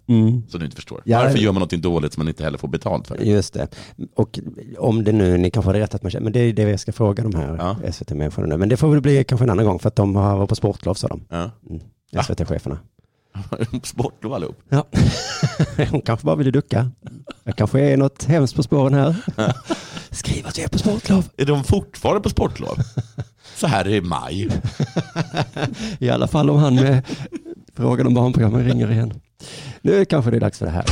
Speaker 2: som du inte förstår.
Speaker 3: Mm. Ja.
Speaker 2: Varför gör man någonting dåligt som man inte heller får betalt för?
Speaker 3: Just det. Och om det nu, ni kanske hade rätt att man känner, men det är det jag ska fråga de här
Speaker 2: Ja.
Speaker 3: SVT-människorna nu. Men det får väl bli kanske en annan gång för att de har- var på sportlov sa de, Mm.
Speaker 2: Ja.
Speaker 3: SVT-cheferna.
Speaker 2: Sportlov allihop.
Speaker 3: Ja. Hon kanske bara ville ducka. Jag kanske är något hemskt på spåren här. Skriv att jag är på sportlov.
Speaker 2: Är de fortfarande på sportlov? Så här i maj.
Speaker 3: I alla fall om han med frågan om barnprogrammen ringer igen. Nu kanske det är dags för det här.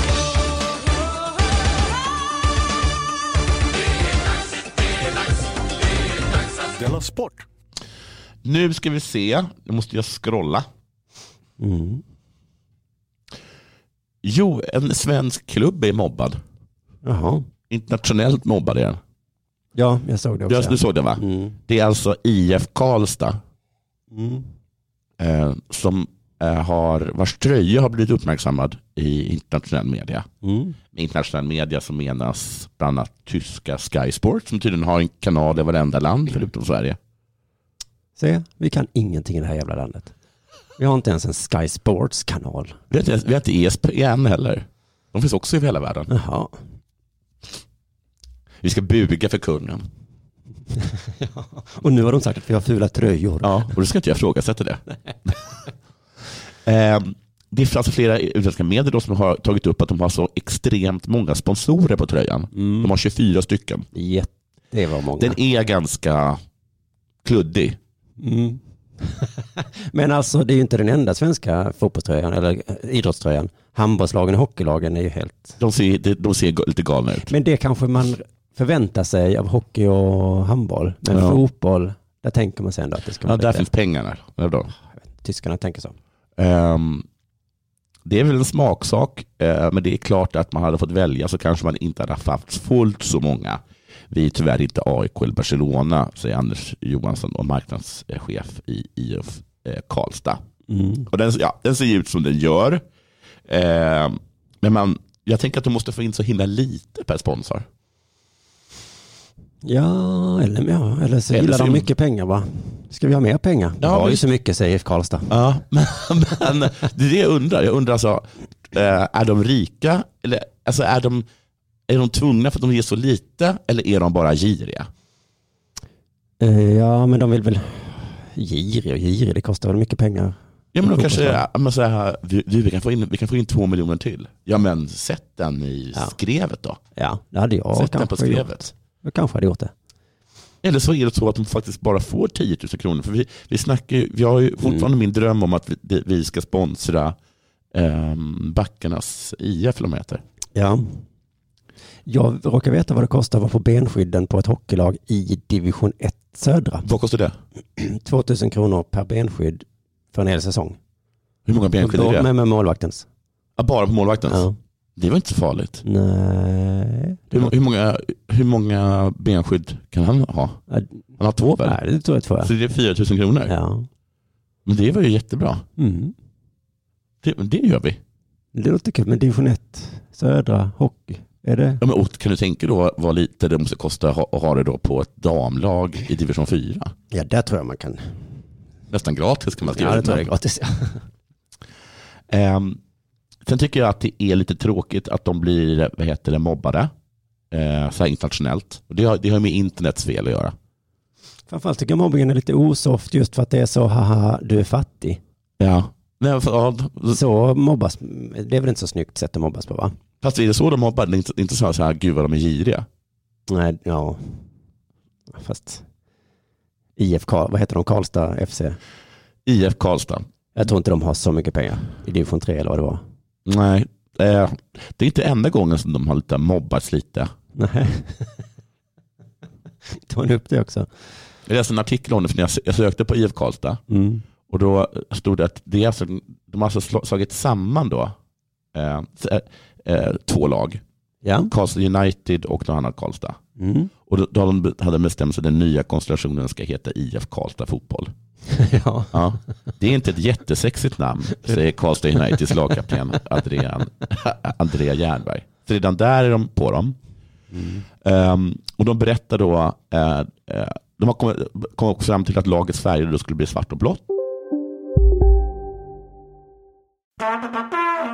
Speaker 6: Della Sport!
Speaker 2: Nu ska vi se, nu måste jag scrolla.
Speaker 3: Mm.
Speaker 2: Jo, en svensk klubb är mobbad.
Speaker 3: Jaha.
Speaker 2: Internationellt mobbad är den.
Speaker 3: Ja, jag såg det också.
Speaker 2: Du, du såg den va?
Speaker 3: Mm.
Speaker 2: Det är alltså IF Karlstad
Speaker 3: Mm.
Speaker 2: eh, som eh, har, vars tröja har blivit uppmärksammad i internationell media.
Speaker 3: Mm.
Speaker 2: Med internationell media som menas bland annat tyska Sky Sport som tydligen har en kanal i varenda land förutom Sverige.
Speaker 3: Se, vi kan ingenting i det här jävla landet. Vi har inte ens en Sky Sports-kanal.
Speaker 2: Vi har inte- E vi har inte ESPN heller. De finns också i hela världen.
Speaker 3: Jaha.
Speaker 2: Vi ska buga för kungen.
Speaker 3: Och nu har de sagt att vi har fula tröjor.
Speaker 2: Ja, och då ska inte jag ifrågasätta det. Ehm, det är alltså flera utländska medier då som har tagit upp att de har så extremt många sponsorer på tröjan. De har 24 stycken.
Speaker 3: Jätte- Det var många.
Speaker 2: Den är ganska kluddig.
Speaker 3: Mm. Men alltså, det är ju inte den enda svenska fotbollströjan eller eh, idrottströjan. Handbollslagen och hockeylagen är ju helt
Speaker 2: De ser, de- de ser ga- lite galna ut.
Speaker 3: Men det kanske man förväntar sig av hockey och handboll. Men
Speaker 2: Ja.
Speaker 3: fotboll, där tänker man sig ändå att det ska vara
Speaker 2: Ja, där
Speaker 3: lite.
Speaker 2: finns pengarna. Ja, då.
Speaker 3: Tyskarna tänker så.
Speaker 2: Ehm, det är väl en smaksak, eh, men det är klart att man hade fått välja så kanske man inte hade haft fullt så många. Vi är tyvärr inte AIK eller Barcelona, säger Anders Johansson, och marknadschef i IF eh, Karlstad.
Speaker 3: Mm.
Speaker 2: Och den, ja, den ser ju ut som den gör. Ehm, men man, jag tänker att du måste få in så himla lite per sponsor.
Speaker 3: Ja, eller, ja, eller så
Speaker 2: Eller
Speaker 3: gillar
Speaker 2: så-
Speaker 3: de mycket pengar va? Ska vi ha mer pengar? Ja, det
Speaker 2: Ja,
Speaker 3: var ju
Speaker 2: visst.
Speaker 3: så mycket säger IF Karlstad.
Speaker 2: Ja, men, men det är det jag undrar. Jag undrar alltså, eh, är de rika? Eller, alltså, är, de, är de tvungna för att de ger så lite? Eller är de bara giriga?
Speaker 3: Eh, Ja, men de vill väl... Girig och girig, det kostar väl mycket pengar.
Speaker 2: Ja, men
Speaker 3: Jag
Speaker 2: de kanske
Speaker 3: hoppas
Speaker 2: ja, men så här, vi, vi, vi kan få in, vi kan få in två miljoner till. Ja, men sätt den i
Speaker 3: Ja.
Speaker 2: skrevet då.
Speaker 3: Ja, det hade jag
Speaker 2: sätt den på
Speaker 3: kanske gjort.
Speaker 2: skrevet.
Speaker 3: Jag kanske hade gjort det.
Speaker 2: Eller så är det så att de faktiskt bara får 10 000 kronor. För vi, vi, snackar ju, vi har ju
Speaker 3: Mm.
Speaker 2: fortfarande min dröm om att vi, det- vi ska sponsra ehm, Backarnas IF, eller vad de heter.
Speaker 3: Ja. Jag råkar veta vad det kostar att vara på benskydden på ett hockeylag i division 1 södra.
Speaker 2: Vad kostar det?
Speaker 3: 2000 kronor per benskydd för en hel säsong.
Speaker 2: Hur många benskydor är det?
Speaker 3: Med, med målvaktens.
Speaker 2: Ja, bara på målvaktens?
Speaker 3: Ja.
Speaker 2: Det var inte så farligt.
Speaker 3: Nej.
Speaker 2: Hur, hur, många, hur många benskydd kan han ha?
Speaker 3: Ja,
Speaker 2: Han har två väl?
Speaker 3: Nej, det tror jag två är.
Speaker 2: Så det är 4 000 kronor?
Speaker 3: Ja.
Speaker 2: Men det var ju jättebra.
Speaker 3: Mm.
Speaker 2: Det, men det gör vi.
Speaker 3: Det låter kul, men division 1, södra, hockey, är det?
Speaker 2: Ja, men, och kan du tänka då vad lite det måste kosta att ha- att ha det då på ett damlag i division 4?
Speaker 3: Ja, där tror jag man kan.
Speaker 2: Nästan gratis kan man skriva
Speaker 3: Ja, det
Speaker 2: ut
Speaker 3: tror
Speaker 2: den.
Speaker 3: jag är gratis. ja.
Speaker 2: Ehm, sen tycker jag att det är lite tråkigt att de blir vad heter det, mobbade eh, så här internationellt. Och det, har, det har med internets fel att göra.
Speaker 3: Framförallt tycker jag mobbningen är lite osoft just för att det är så, haha, du är fattig.
Speaker 2: Ja. Nej, för, ja, d-
Speaker 3: Så mobbas, det är väl inte så snyggt sätt att mobbas på va?
Speaker 2: fast är det så de mobbar? Det är inte, inte så här, så här, gud vad de är giriga.
Speaker 3: Nej, ja. Fast IFK, vad heter de, Karlstad FC?
Speaker 2: IF Karlstad.
Speaker 3: Jag tror inte de har så mycket pengar i division 3 eller vad det var.
Speaker 2: Nej, eh, det är inte enda gången som de har lite mobbats lite.
Speaker 3: Nej. Tog han upp det också?
Speaker 2: Jag läste en artikel om det, för när jag sö- jag sökte på IF Karlstad
Speaker 3: Mm.
Speaker 2: och då stod det att det är alltså, de har alltså slå- slagit samman då eh, så, eh, eh, två lag.
Speaker 3: Ja.
Speaker 2: Karlstad United och något annat Karlstad.
Speaker 3: Mm.
Speaker 2: Och då, då hade de- hade de bestämt sig att den nya konstellationen ska heta IF Karlstad Fotboll.
Speaker 3: ja.
Speaker 2: Ja. Det är inte ett jättesexigt namn, säger Karlstad Uniteds lagkapten Adrian, Andrea Jernberg. Så redan där är de på dem. Ehm, och de berättar då, eh, eh, de har kommit, kom också fram till att lagets färger då skulle bli svart och blått.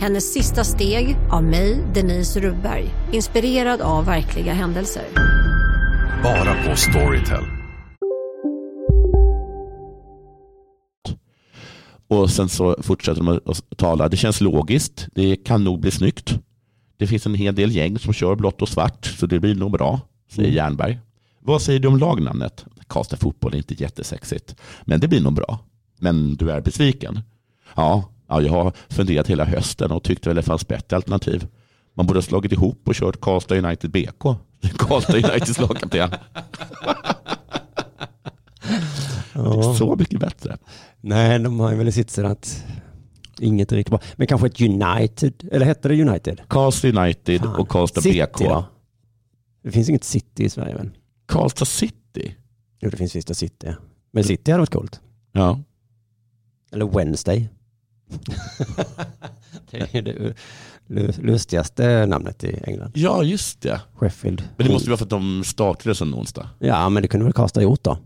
Speaker 7: Hennes sista steg av mig, Denise Rubberg. Inspirerad av verkliga händelser.
Speaker 8: Bara på Storytel.
Speaker 2: Och sen så fortsätter de att- att tala. Det känns logiskt, det kan nog bli snyggt. Det finns en hel del gäng som kör blått och svart, så det blir nog bra, säger Jernberg. Vad säger du om lagnamnet? Karlstad Fotboll är inte jättesexigt, men det blir nog bra. Men du är besviken? Ja, ja, jag har funderat hela hösten och tyckte väl det fanns bättre alternativ. Man borde ha slagit ihop och kört Karlstad United BK. Karlstad Uniteds lagkapten. Det är så mycket bättre.
Speaker 3: Nej, de har ju väl i sitsen att inget är riktigt bra. Men kanske ett United, eller hette det United?
Speaker 2: Karlstad United
Speaker 3: Fan.
Speaker 2: och Karlstad
Speaker 3: City
Speaker 2: BK.
Speaker 3: då? Det finns inget City i Sverige väl?
Speaker 2: Karlstad City?
Speaker 3: Jo, det finns visst ett City. Men City hade varit coolt.
Speaker 2: Ja.
Speaker 3: Eller Wednesday. det är det lu- lustigaste namnet i England.
Speaker 2: ja, just det.
Speaker 3: Sheffield.
Speaker 2: Men det måste ju vara för att de startade sen onsdag.
Speaker 3: Ja, men det kunde väl Karlstad gjort då.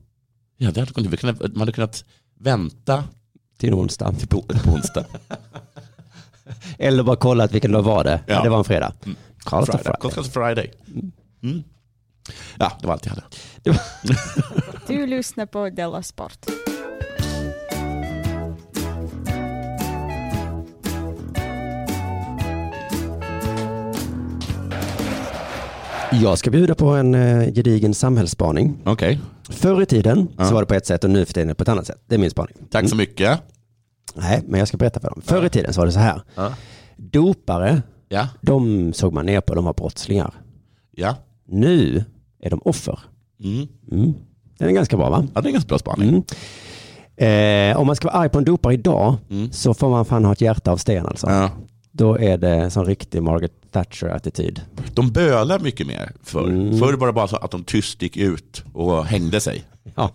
Speaker 2: Ja, det hade kunnat, vi kunde- man hade kunnat vänta
Speaker 3: Till en onsdag.
Speaker 2: till på, på onsdag.
Speaker 3: Eller bara kollat vilken dag var det.
Speaker 2: Ja.
Speaker 3: Det var en fredag.
Speaker 2: Mm.
Speaker 3: Karlstad
Speaker 2: Friday.
Speaker 3: Friday.
Speaker 2: Karlstad Friday. Mm. Ja, det var allt jag hade.
Speaker 4: Du lyssnar på Della Sport.
Speaker 3: Jag ska bjuda på en eh, gedigen samhällsspaning.
Speaker 2: Okej,
Speaker 3: Förr i tiden
Speaker 2: Ja.
Speaker 3: så var det på ett sätt och nu för tiden är det på ett annat sätt. Det är min spaning.
Speaker 2: tack så mycket.
Speaker 3: Nej, men jag ska berätta för dem. Förr i tiden så var det så här.
Speaker 2: Ja.
Speaker 3: Dopare,
Speaker 2: Ja,
Speaker 3: de såg man ner på, de var brottslingar.
Speaker 2: ja.
Speaker 3: Nu är de offer.
Speaker 2: Mm.
Speaker 3: Mm. Den är ganska bra va?
Speaker 2: ja det är en ganska bra spaning.
Speaker 3: Mm. Eh, om man ska vara arg på en dopare idag
Speaker 2: Mm.
Speaker 3: så får man fan ha ett hjärta av sten alltså.
Speaker 2: Ja.
Speaker 3: Då är det som riktig Margaret Thatcher-attityd.
Speaker 2: De bölar mycket mer förr.
Speaker 3: Mm.
Speaker 2: Förr var det bara så att de tyst gick ut och hängde sig.
Speaker 3: Ja.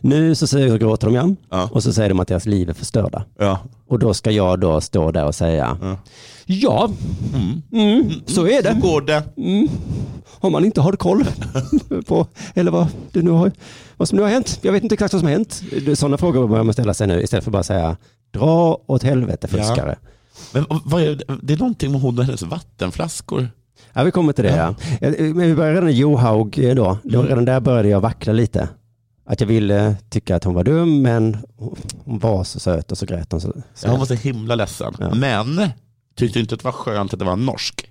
Speaker 3: nu så säger och gråter de igen
Speaker 2: Ja.
Speaker 3: och så säger de att deras liv är förstörda.
Speaker 2: Ja.
Speaker 3: Och då ska jag då stå där och säga,
Speaker 2: Ja.
Speaker 3: Ja, Mm, så är det.
Speaker 2: går det.
Speaker 3: Mm. Om man inte har koll på, eller vad, det nu har, vad som nu har hänt. Jag vet inte exakt vad som har hänt. Det- Sådana frågor börjar man ställa sig nu istället för bara säga dra åt helvete fuskare.
Speaker 2: Men vad är det? det är någonting med hon och hennes vattenflaskor.
Speaker 3: Ja, vi kommer till det. Ja. Eh, Men vi börjar redan i Johaug eh, då. då.
Speaker 2: Mm.
Speaker 3: Redan där började jag vackla lite. Att jag ville tycka att hon var dum, men hon- hon var så söt och så grät hon. Så, så.
Speaker 2: Ja, hon var så himla ledsen. Men tyckte inte att det var skönt att det var en norsk.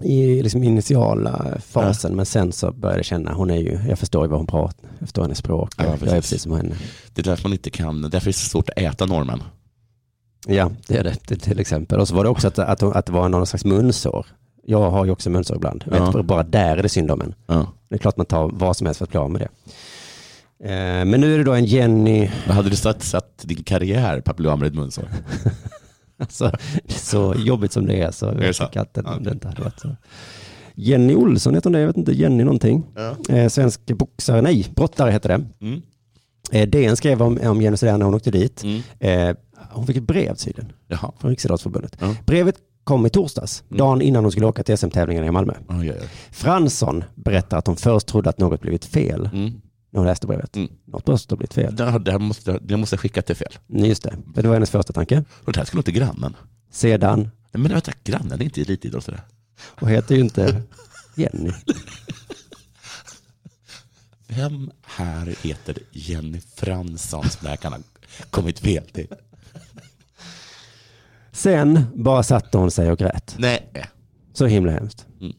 Speaker 3: I liksom initiala fasen, men sen så började jag känna, hon är ju, jag förstår ju vad hon pratar, jag förstår hennes språk,
Speaker 2: Ja,
Speaker 3: jag, jag är
Speaker 2: precis.
Speaker 3: precis som henne.
Speaker 2: Det är därför man inte kan, därför är det så svårt att äta normen.
Speaker 3: Ja, det är det till- till exempel. Och så var det också att, att, hon- att det var någon slags munsår. Jag har ju också munsår ibland.
Speaker 2: Ja.
Speaker 3: Vet, bara där är det synd om en.
Speaker 2: Ja.
Speaker 3: Det är klart man tar vad som helst för att bli av med det. Eh, Men nu är det då en Jenny,
Speaker 2: Vad hade du satt, satt din karriär på att bli av med ditt munsår?
Speaker 3: alltså, så jobbigt som det är så
Speaker 2: det
Speaker 3: jag
Speaker 2: sant?
Speaker 3: tycker att det, det inte hade varit så. Jenny Olsson heter hon det, jag vet inte, Jenny någonting. Eh, svensk boxare, nej, brottare heter det.
Speaker 2: Mm.
Speaker 3: Eh, DN skrev om, om Jenny Sudär när hon åkte dit.
Speaker 2: Mm.
Speaker 3: Eh, hon fick ett brev tydligen.
Speaker 2: Jaha.
Speaker 3: från Riksidrottsförbundet.
Speaker 2: Ja. Mm.
Speaker 3: Brevet kom i torsdags, dagen innan hon skulle åka till SM-tävlingarna i Malmö.
Speaker 2: Oj, oj, oj.
Speaker 3: Fransson berättar att hon först trodde att något blivit fel
Speaker 2: Mm.
Speaker 3: när hon läste brevet.
Speaker 2: Mm.
Speaker 3: Något måste ha blivit fel.
Speaker 2: Det, här, det, här måste, det måste jag skicka till fel.
Speaker 3: Mm, Just det, Men det var hennes första tanke.
Speaker 2: Och det här skulle inte grannen.
Speaker 3: Sedan,
Speaker 2: Nej, Men vänta, grannen är inte elitidrottare.
Speaker 3: och heter ju inte Jenny.
Speaker 2: Vem här heter Jenny Fransson som det här kan ha kommit fel till?
Speaker 3: Sen bara satte hon sig och grät.
Speaker 2: Nej.
Speaker 3: Så himla hemskt.
Speaker 2: Mm.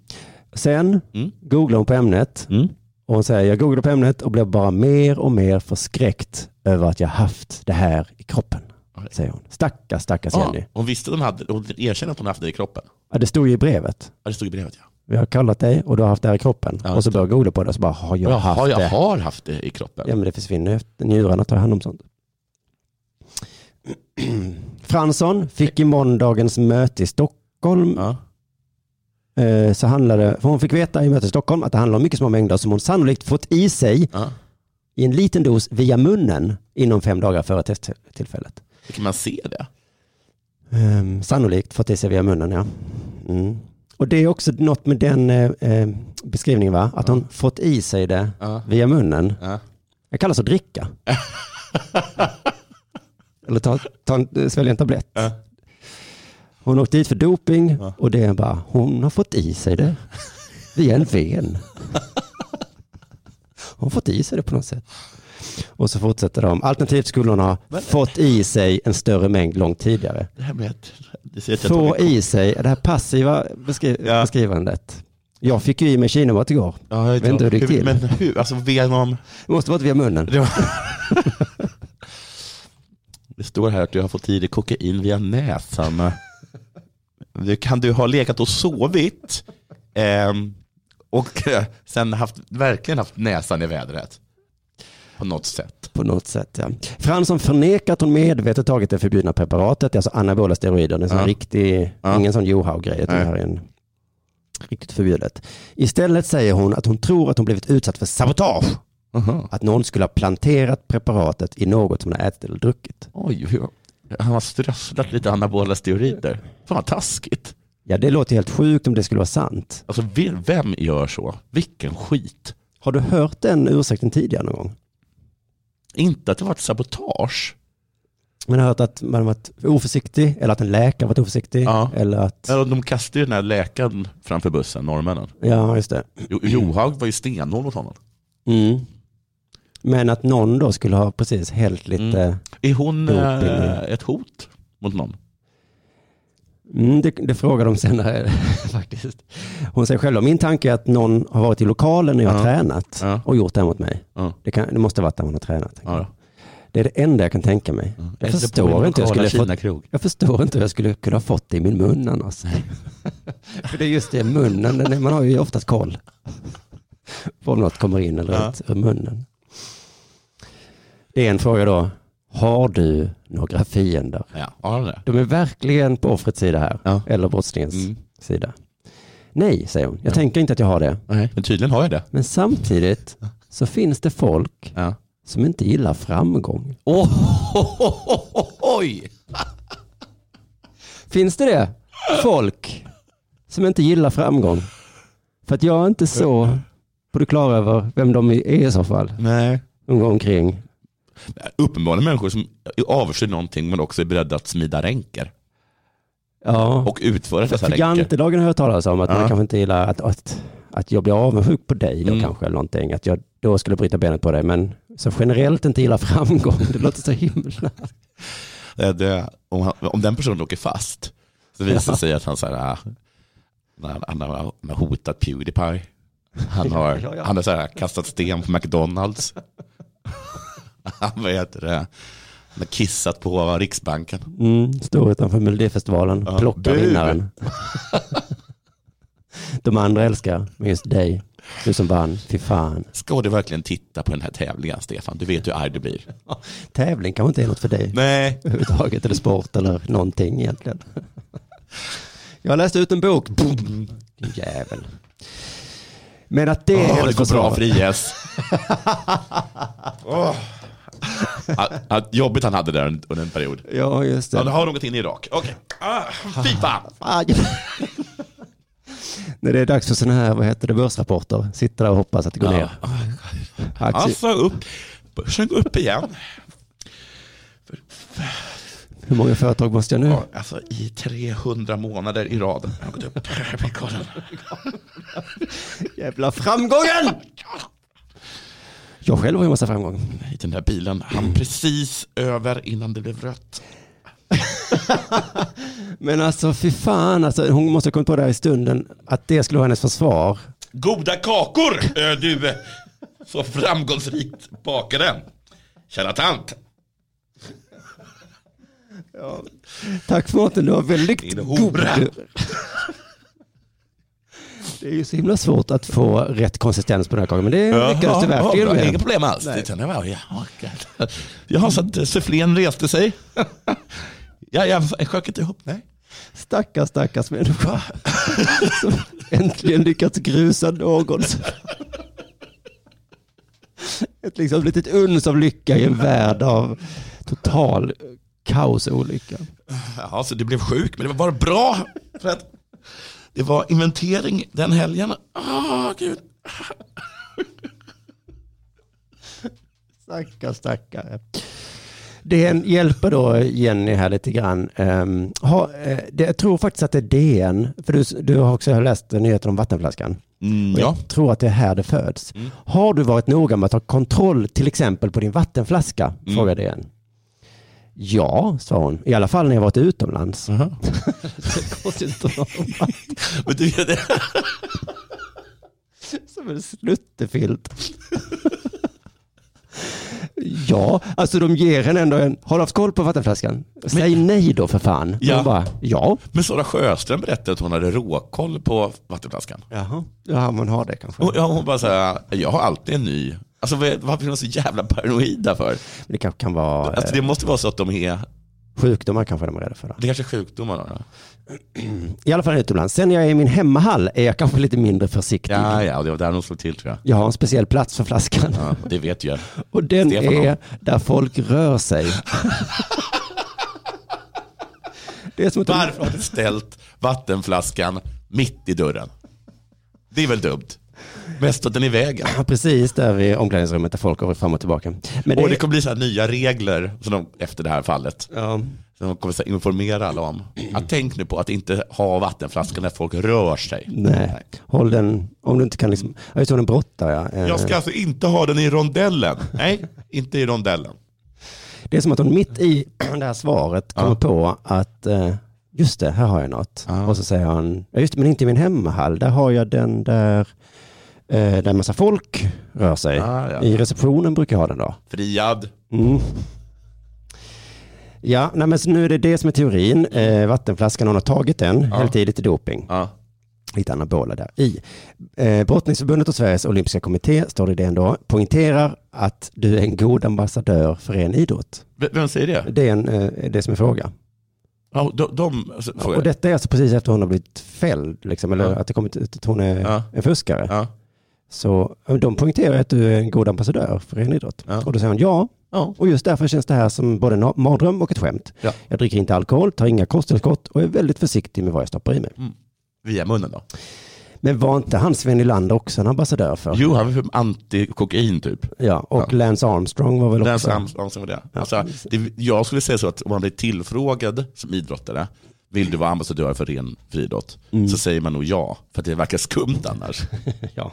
Speaker 3: Sen
Speaker 2: Mm.
Speaker 3: googlade hon på ämnet
Speaker 2: Mm.
Speaker 3: och hon säger jag googlade på ämnet och blev bara mer och mer förskräckt över att jag haft det här i kroppen.
Speaker 2: Oj.
Speaker 3: Säger hon. Stackars, stackars
Speaker 2: Ja,
Speaker 3: Jenny.
Speaker 2: hon visste att hon hade, hon erkände att hon haft det i kroppen.
Speaker 3: Ja, det stod ju i brevet.
Speaker 2: Ja, det stod i brevet ja.
Speaker 3: Vi har kallat dig och du har haft det här i kroppen.
Speaker 2: Ja,
Speaker 3: och så börjar jag googla på det och så bara, har jag
Speaker 2: Jaha,
Speaker 3: haft
Speaker 2: jag
Speaker 3: det?
Speaker 2: har haft det i kroppen.
Speaker 3: Ja men det försvinner ju efter njurarna tar hand om sånt. Fransson fick i måndagens möte i Stockholm,
Speaker 2: Ja.
Speaker 3: eh, så handlade, för hon fick veta i mötet i Stockholm att det handlar om mycket små mängder som hon sannolikt fått i sig
Speaker 2: Ja.
Speaker 3: i en liten dos via munnen inom fem dagar före testtillfället.
Speaker 2: Kan man se det?
Speaker 3: Ehm, sannolikt fått i sig via munnen, ja. Mm. Och det är också något med den eh, eh, beskrivningen, va? Att hon fått i sig det
Speaker 2: Ja.
Speaker 3: via munnen.
Speaker 2: Ja.
Speaker 3: Det kallas att dricka. Eller ta, ta en, svälja en tablett.
Speaker 2: Ja.
Speaker 3: Hon åkte dit för doping
Speaker 2: Ja.
Speaker 3: och det är bara, hon har fått i sig det via en ven. Hon har fått i sig det på något sätt. Och så fortsätter de. Alternativt skulle hon ha fått i sig en större mängd långt tidigare.
Speaker 2: Det här med att... Det ser att jag
Speaker 3: Få
Speaker 2: tagit-
Speaker 3: i sig, det här passiva beskri-
Speaker 2: Ja.
Speaker 3: beskrivandet. Jag fick ju i mig kinamat igår.
Speaker 2: Ja, jag
Speaker 3: Vet inte hur det gick till.
Speaker 2: Men hur? Alltså genom...
Speaker 3: Det måste varit via munnen.
Speaker 2: Det, var... det står här att du har fått i dig kokain via näsan. Du, kan du ha legat och sovit ehm, och eh, sen haft, verkligen haft näsan i vädret? På något sätt.
Speaker 3: På något sätt ja. Fransson förnekar att hon medvetet tagit det förbjudna preparatet, det är alltså anabola steroider. Det är en sån
Speaker 2: Ja.
Speaker 3: riktig,
Speaker 2: Ja.
Speaker 3: ingen sån Johaug-grej, utan det här är en riktigt förbjudet. Istället säger hon att hon tror att hon blivit utsatt för sabotage. Att någon skulle ha planterat preparatet i något som hon har ätit eller druckit.
Speaker 2: Oj, oj, oj. han har strösslat lite anabola steroider. Fan vad taskigt.
Speaker 3: Ja, det låter helt sjukt om det skulle vara sant.
Speaker 2: Alltså vil- vem gör så? Vilken skit.
Speaker 3: Har du hört den ursäkten tidigare någon gång?
Speaker 2: Inte att det varit sabotage.
Speaker 3: Man har hört att man har varit oförsiktig, eller att en läkare varit oförsiktig,
Speaker 2: Ja.
Speaker 3: eller att...
Speaker 2: Eller de kastade ju den här läkaren framför bussen, norrmännen.
Speaker 3: Ja, just det.
Speaker 2: Jo- Johaug var ju stenhård mot honom.
Speaker 3: Mm. Men att någon då skulle ha precis hällt lite... Mm.
Speaker 2: Är hon
Speaker 3: Doping.
Speaker 2: eh, ett hot mot någon?
Speaker 3: Mm, det, det frågar de senare faktiskt. Hon säger själv, min tanke är att någon har varit i lokalen när jag har
Speaker 2: Ja.
Speaker 3: tränat
Speaker 2: Ja.
Speaker 3: och gjort det här mot mig.
Speaker 2: Ja.
Speaker 3: Det, kan, det måste ha varit där hon har tränat. tänker
Speaker 2: Ja,
Speaker 3: jag. Det är det enda jag kan tänka mig. Jag, förstår inte hur jag, skulle ha fått,
Speaker 2: Kina-krog.
Speaker 3: jag förstår inte hur jag skulle kunna ha fått det i min mun annars. För det är just det, munnen, den är, man har ju oftast koll på om något kommer in eller
Speaker 2: Ja.
Speaker 3: ut ur munnen. Det är en fråga då. Har du några fiender?
Speaker 2: Ja, har hon det?
Speaker 3: De är verkligen på offrets sida här,
Speaker 2: Ja.
Speaker 3: eller brottslingens
Speaker 2: Mm.
Speaker 3: sida. Nej, säger hon. Jag tänker inte att jag har det.
Speaker 2: Nej, men tydligen har jag det.
Speaker 3: Men samtidigt så finns det folk
Speaker 2: Ja.
Speaker 3: som inte gillar framgång.
Speaker 2: Oh, oj!
Speaker 3: Finns det det? Folk som inte gillar framgång. För att jag är inte så på det klara över vem de är i så fall.
Speaker 2: Nej.
Speaker 3: De går omkring.
Speaker 2: Uppenbarligen människor som avskyr någonting men också är beredda att smida ränker.
Speaker 3: Ja.
Speaker 2: Och utföra dessa
Speaker 3: För
Speaker 2: ränker.
Speaker 3: jantelagen har jag talat om, att
Speaker 2: Ja.
Speaker 3: man kanske inte gillar att, att, att jag blir avundsjuk på dig då
Speaker 2: Mm.
Speaker 3: kanske, eller någonting. Att jag då skulle bryta benet på dig, men så generellt inte gillar framgång, det låter så himla...
Speaker 2: Eh, Det, om, han, om den personen åker fast så visar det sig att han, så här, ah, han, han, har, han har hotat Pewdiepie. Han har,
Speaker 3: Ja, ja, ja.
Speaker 2: Han har så här, kastat sten på McDonalds. han, vad heter det? han har kissat på Riksbanken.
Speaker 3: Mm, står utanför Melodifestivalen,
Speaker 2: Ja.
Speaker 3: plockar
Speaker 2: Bu!
Speaker 3: vinnaren. De andra älskar, men just dig, du som vann, fy fan.
Speaker 2: Ska du verkligen titta på den här tävlingen, Stefan? Du vet hur arg du blir.
Speaker 3: Tävling kanske inte är något för dig
Speaker 2: Nej.
Speaker 3: överhuvudtaget, eller sport eller någonting egentligen. Jag läste ut en bok, Boom. din jävel. Men att det
Speaker 2: Åh,
Speaker 3: är
Speaker 2: det går bra
Speaker 3: försvaret.
Speaker 2: för IS. Åh. Att, att jobbigt han hade där under en period.
Speaker 3: Ja, just det.
Speaker 2: Han har något in i Irak. Okej. Ah, fy fan.
Speaker 3: Aj. När det är dags för sådana här, vad heter det, börsrapporter, sitter där och hoppas att det går
Speaker 2: Ja.
Speaker 3: ner. Aktie-
Speaker 2: Alltså upp. Börsen går upp igen.
Speaker 3: Hur många företag måste jag nu?
Speaker 2: Ja, Alltså i 300 månader i rad. typ. Jag har gått upp. Jag vill kolla.
Speaker 3: Jävla framgången! Jag själv har ju en massa framgång.
Speaker 2: Nej, den där bilen han precis över innan det blev rött.
Speaker 3: Men alltså fy fan, alltså, hon måste ha kommit på det här i stunden, att det skulle vara hennes försvar.
Speaker 2: Goda kakor, ö, du eh, så framgångsrikt bakaren. Kära tant.
Speaker 3: Tack för maten, du var väldigt
Speaker 2: Din
Speaker 3: god.
Speaker 2: hora.
Speaker 3: Det är ju så himla svårt att få rätt konsistens på den här kakan, men det lyckades du verkligen
Speaker 2: med. Inga
Speaker 3: med.
Speaker 2: problem alls.
Speaker 3: Nej.
Speaker 2: Utan jag bara, ja, okej. Jaha, så att eh, sufflén reste sig. Ja, jag sjönk inte ihop. Nej.
Speaker 3: Stackars, stackars människa som äntligen lyckats grusa någon. Ett liksom litet uns av lycka i en värld av total kaos och olycka.
Speaker 2: Jaha, så du blev sjuk, men det var bara bra. För att det var inventering den helgen. Åh, gud.
Speaker 3: Stackars, stackare. Det en- hjälper då Jenny här lite grann. Ehm, ha, eh, det, jag tror faktiskt att det är DN, för du, s- du har också läst nyheten om vattenflaskan. Och
Speaker 2: Mm, ja.
Speaker 3: Jag tror att det är här det föds. Har du varit noga med att ha kontroll till exempel på din vattenflaska? Frågade DN. Ja, sa hon. I alla fall när jag varit utomlands. Konstigt att ha
Speaker 2: Men du, det,
Speaker 3: Som en sluttefilt. ja, alltså de ger henne ändå en, har du haft koll på vattenflaskan? Säg nej då för fan.
Speaker 2: Ja.
Speaker 3: Hon bara, ja.
Speaker 2: men Sara Sjöström berättade att hon hade råkoll på vattenflaskan.
Speaker 3: Jaha. Ja, man har det kanske.
Speaker 2: Och, ja, hon bara så här, jag har alltid en ny. Alltså vad- varför är de så jävla paranoida för?
Speaker 3: Men det kanske kan vara
Speaker 2: Alltså,
Speaker 3: eh,
Speaker 2: det måste vara så att de är,
Speaker 3: sjukdomar kanske de är rädda för. Då.
Speaker 2: det kanske är sjukdomar. då.
Speaker 3: I alla fall utomlands. Sen när jag är i min hemmahall är jag kanske lite mindre försiktig.
Speaker 2: Ja, ja, det var där de slog till tror jag.
Speaker 3: Jag har en speciell plats för flaskan.
Speaker 2: Ja, det vet jag.
Speaker 3: Och den
Speaker 2: Stefan
Speaker 3: är
Speaker 2: har.
Speaker 3: där folk rör sig. det är som att
Speaker 2: Varför har du ställt vattenflaskan mitt i dörren? Det är väl dumt? Mest att den är i vägen.
Speaker 3: Ja, precis där vid omklädningsrummet där folk går fram och tillbaka. Men
Speaker 2: Och det kommer bli så här nya regler som de, efter det här fallet.
Speaker 3: ja,
Speaker 2: Som de kommer så här informera alla om.
Speaker 3: Mm.
Speaker 2: Att tänk nu på att inte ha vattenflaskan när folk rör sig.
Speaker 3: nej. Håll den, om du inte kan liksom, ja just det, den brottar ja. Eh,
Speaker 2: Jag ska alltså inte ha den i rondellen. Nej, inte i rondellen.
Speaker 3: Det är som att hon mitt i det här svaret kommer på att eh, just det, här har jag något.
Speaker 2: Ja.
Speaker 3: Och så säger han, ja just det, men inte i min hemmahall, där har jag den där eh, där massa folk rör sig.
Speaker 2: Ah, ja.
Speaker 3: I receptionen brukar jag ha den då.
Speaker 2: Friad.
Speaker 3: Mm. Ja, nej, men så nu är det det som är teorin. Eh, vattenflaskan, hon har tagit den,
Speaker 2: Ja.
Speaker 3: hällt i lite doping.
Speaker 2: Ja.
Speaker 3: lite anabola där i. Eh, Brottningsförbundet och Sveriges olympiska kommitté, står det i DN då, poängterar att du är en god ambassadör för en idrott.
Speaker 2: V- Vem säger det?
Speaker 3: Det är en, eh, det som är fråga.
Speaker 2: Ja, de, de alltså,
Speaker 3: Och
Speaker 2: frågar.
Speaker 3: detta är alltså precis efter hon har blivit fälld, liksom, eller
Speaker 2: Ja.
Speaker 3: att det kommit ut att hon är
Speaker 2: Ja.
Speaker 3: en fuskare.
Speaker 2: Ja.
Speaker 3: Så eh, de poängterar att du är en god ambassadör för en idrott.
Speaker 2: Ja.
Speaker 3: Och då säger hon ja, Och just därför känns det här som både en mardröm och ett skämt.
Speaker 2: Ja.
Speaker 3: Jag dricker inte alkohol, tar inga kosttillskott och är väldigt försiktig med vad jag stoppar i mig.
Speaker 2: Via munnen då?
Speaker 3: Men var inte han Sven Nylander också en ambassadör för?
Speaker 2: Jo, han var för anti-kokain typ.
Speaker 3: Ja, och
Speaker 2: Ja.
Speaker 3: Lance Armstrong var väl också...
Speaker 2: Lance Armstrong var det. Alltså, det. Jag skulle säga så att om man blir tillfrågad som idrottare, vill du vara ambassadör för ren friidrott?
Speaker 3: Mm.
Speaker 2: Så säger man nog ja, för att det verkar skumt annars.
Speaker 3: ja.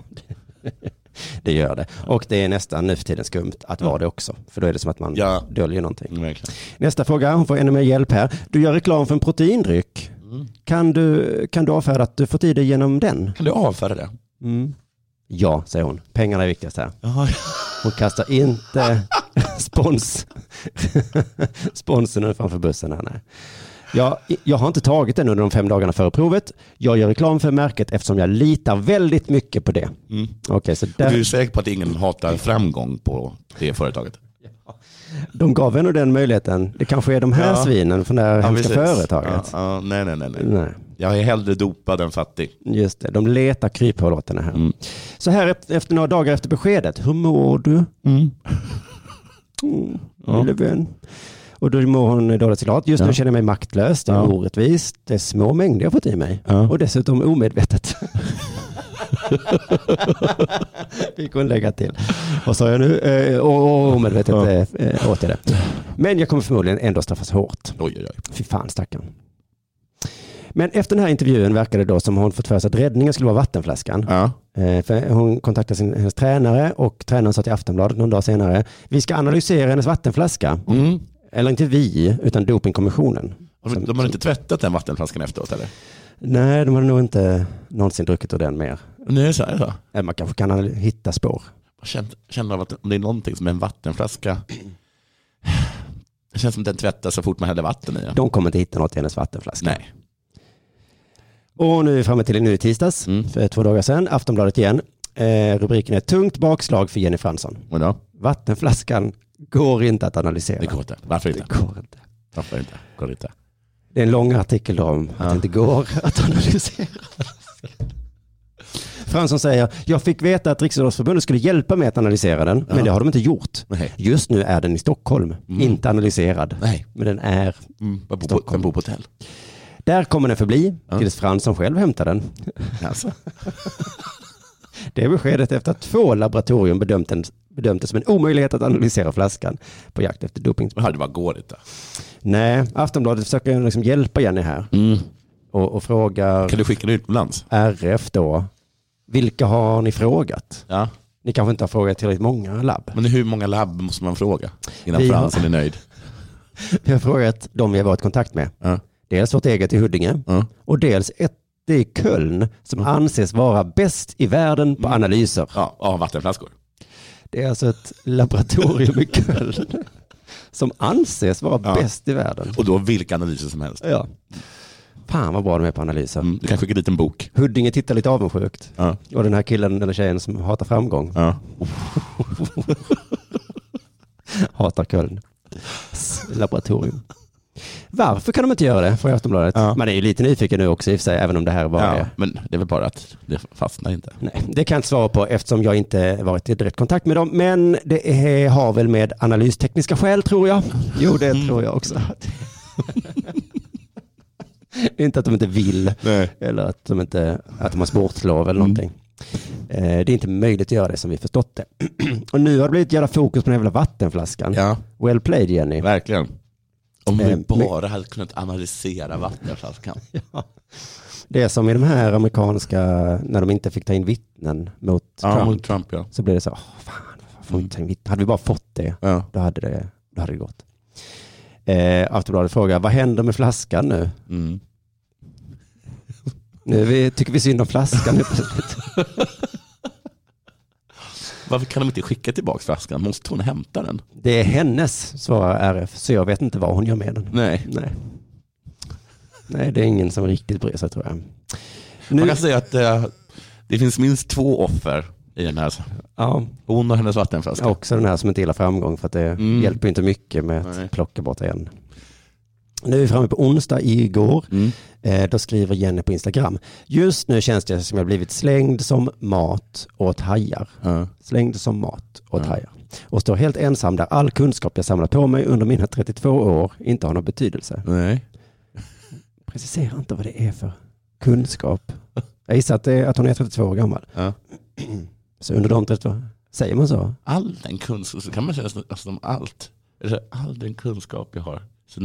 Speaker 3: Det gör det. Och det är nästan nu för tiden skumt att vara det också. För då är det som att man
Speaker 2: Mm. Ja.
Speaker 3: döljer någonting.
Speaker 2: Verkligen.
Speaker 3: Nästa fråga, hon får ännu mer hjälp här. Du gör reklam för en proteindryck. Kan, du, kan du avfärda att du fått i dig genom den?
Speaker 2: Mm. Kan du avfärda det?
Speaker 3: Mm. Ja, säger hon. Pengarna är viktigast här.
Speaker 2: Jaha.
Speaker 3: Hon kastar inte spons. sponsen framför bussen här, nej. Jag, jag har inte tagit den under de fem dagarna före provet. Jag gör reklam för märket eftersom jag litar väldigt mycket på det.
Speaker 2: Mm.
Speaker 3: Okej, så
Speaker 2: Och
Speaker 3: där,
Speaker 2: Du är säker på att ingen hatar framgång på det företaget?
Speaker 3: de gav ändå den möjligheten. Det kanske är de här
Speaker 2: Ja.
Speaker 3: svinen från det här hemska
Speaker 2: precis.
Speaker 3: företaget.
Speaker 2: Ja, ja, nej, nej, nej, nej.
Speaker 3: Nej.
Speaker 2: Jag är hellre dopad än fattig.
Speaker 3: Just det, de letar kryphål åt den här.
Speaker 2: Mm.
Speaker 3: Så här eft- efter några dagar efter beskedet, hur mår du? Mm, lille vän. Och då mår hon dåligt såklart. Just nu känner jag mig maktlös, det är
Speaker 2: Ja.
Speaker 3: orättvist, det är små mängder jag fått i mig.
Speaker 2: Ja.
Speaker 3: Och dessutom omedvetet. Fick hon lägga till. Vad sa jag nu? Eh, och, och omedvetet
Speaker 2: Ja.
Speaker 3: eh, eh, åt jag det. Men jag kommer förmodligen ändå straffas hårt.
Speaker 2: Oj, oj, oj.
Speaker 3: Fy fan stackarn. Men efter den här intervjun verkade det då som hon fått för sig att räddningen skulle vara vattenflaskan.
Speaker 2: Ja.
Speaker 3: Eh, För hon kontaktade sin, hennes tränare och tränaren sa till Aftonbladet någon dag senare, vi ska analysera hennes vattenflaska.
Speaker 2: Mm.
Speaker 3: Eller inte vi, utan Dopingkommissionen.
Speaker 2: De, de har inte tvättat den vattenflaskan efteråt eller?
Speaker 3: Nej, de hade nog inte någonsin druckit ur den mer.
Speaker 2: Nej, så är det så.
Speaker 3: Eh, Man kanske kan anal- hitta spår.
Speaker 2: Jag känner, känner av att om det är någonting som är en vattenflaska, det känns som den tvättas så fort man häller vatten i den.
Speaker 3: De kommer inte hitta något i hennes vattenflaska.
Speaker 2: Nej.
Speaker 3: Och nu är vi framme till nu i tisdags,
Speaker 2: Mm.
Speaker 3: för två dagar sedan, Aftonbladet igen. Eh, rubriken är Tungt bakslag för Jenny Fransson.
Speaker 2: Och då?
Speaker 3: Vattenflaskan går inte att analysera.
Speaker 2: Det går inte. Varför inte?
Speaker 3: Det går inte.
Speaker 2: Varför inte? Går det inte?
Speaker 3: Det är en lång artikel då om att det inte går att analysera. Fransson säger, jag fick veta att Riksidrottsförbundet skulle hjälpa mig att analysera den, men det har de inte gjort.
Speaker 2: Nej.
Speaker 3: Just nu är den i Stockholm,
Speaker 2: Mm.
Speaker 3: inte analyserad.
Speaker 2: Nej.
Speaker 3: Men den är,
Speaker 2: Mm. Man bor på,
Speaker 3: Stockholm.
Speaker 2: man bor på hotell.
Speaker 3: där kommer den förbli, tills Fransson själv hämtar den.
Speaker 2: Alltså.
Speaker 3: Det är beskedet efter att två laboratorium bedömt, den, bedömt det som en omöjlighet att analysera flaskan på jakt efter doping.
Speaker 2: Men här, det bara går inte.
Speaker 3: Nej, Aftonbladet försöker liksom hjälpa Jenny här
Speaker 2: Mm.
Speaker 3: och, och frågar
Speaker 2: Kan du skicka den utomlands?
Speaker 3: RF då, vilka har ni frågat?
Speaker 2: Ja.
Speaker 3: Ni kanske inte har frågat tillräckligt många labb.
Speaker 2: Men hur många labb måste man fråga innan
Speaker 3: Vi har-
Speaker 2: Fransson är nöjd?
Speaker 3: Vi har frågat de vi har varit i kontakt med.
Speaker 2: Ja.
Speaker 3: Dels vårt eget i Huddinge
Speaker 2: Ja.
Speaker 3: och dels ett i Köln som anses vara bäst i världen
Speaker 2: Mm.
Speaker 3: på analyser.
Speaker 2: Ja, av vattenflaskor.
Speaker 3: Det är alltså ett laboratorium i Köln som anses vara
Speaker 2: Ja.
Speaker 3: bäst i världen.
Speaker 2: Och då vilka analyser som helst.
Speaker 3: Ja. Fan vad bra de är på analyser.
Speaker 2: Mm. Du kan skicka dit en bok.
Speaker 3: Huddinge tittar lite avundsjukt.
Speaker 2: Ja.
Speaker 3: Och den här killen eller tjejen som hatar framgång,
Speaker 2: Ja.
Speaker 3: hatar Köln. S- Laboratorium. Varför kan de inte göra det? Frågar Aftonbladet.
Speaker 2: Ja.
Speaker 3: Man är ju lite nyfiken nu också i och för sig, även om det här bara är
Speaker 2: Ja, men det är väl bara att det fastnar inte.
Speaker 3: Nej, det kan jag inte svara på eftersom jag inte varit i direkt kontakt med dem. Men det är, har väl med analystekniska skäl tror jag. Jo, det tror jag också. Det är inte att de inte vill
Speaker 2: Nej.
Speaker 3: eller att de, inte, att de har sportlov eller någonting. Eh, Det är inte möjligt att göra det som vi förstått det. Och nu har det blivit jävla fokus på den jävla vattenflaskan.
Speaker 2: Ja,
Speaker 3: Well played Jenny.
Speaker 2: verkligen. Om
Speaker 3: Eh,
Speaker 2: vi
Speaker 3: men-
Speaker 2: bara hade kunnat analysera vattenflaskan.
Speaker 3: Det är som i de här amerikanska, när de inte fick ta in vittnen mot
Speaker 2: Ja,
Speaker 3: Trump,
Speaker 2: mot Trump ja.
Speaker 3: så blev det så, "Åh, fan, varför
Speaker 2: Mm.
Speaker 3: får vi inte ta in vittnen? Hade vi bara fått det,
Speaker 2: ja.
Speaker 3: då hade det, då hade det gått. Eh, Aftonbladet frågar, vad händer med flaskan nu?
Speaker 2: Mm.
Speaker 3: nu är vi, tycker vi synd om flaskan nu plötsligt.
Speaker 2: Varför kan de inte skicka tillbaka flaskan? Måste hon hämta den?
Speaker 3: Det är hennes, svarar RF, så jag vet inte vad hon gör med den.
Speaker 2: Nej.
Speaker 3: Nej. Nej, det är ingen som riktigt bryr sig tror jag.
Speaker 2: Man
Speaker 3: Nu,
Speaker 2: kan säga att eh, det finns minst två offer i den här.
Speaker 3: ja,
Speaker 2: Hon och hennes vattenflaska.
Speaker 3: också den här som inte gillar framgång för att det
Speaker 2: Mm.
Speaker 3: hjälper inte mycket med att
Speaker 2: Nej.
Speaker 3: plocka bort en. Nu är vi framme på onsdag igår.
Speaker 2: Mm.
Speaker 3: Eh, då skriver Jenny på Instagram. Just nu känns det som jag blivit slängd som mat åt hajar.
Speaker 2: Ja.
Speaker 3: Slängd som mat åt hajar. och står helt ensam där all kunskap jag samlat på mig under mina 32 år inte har någon betydelse.
Speaker 2: Nej.
Speaker 3: Precisera inte vad det är för kunskap. Jag gissar att, det är, att hon är 32 år gammal.
Speaker 2: Ja.
Speaker 3: Så under de 32, säger man så?
Speaker 2: All den kunskap, så kan man säga så- alltså, om allt. Alltså, All den kunskap jag har. Så,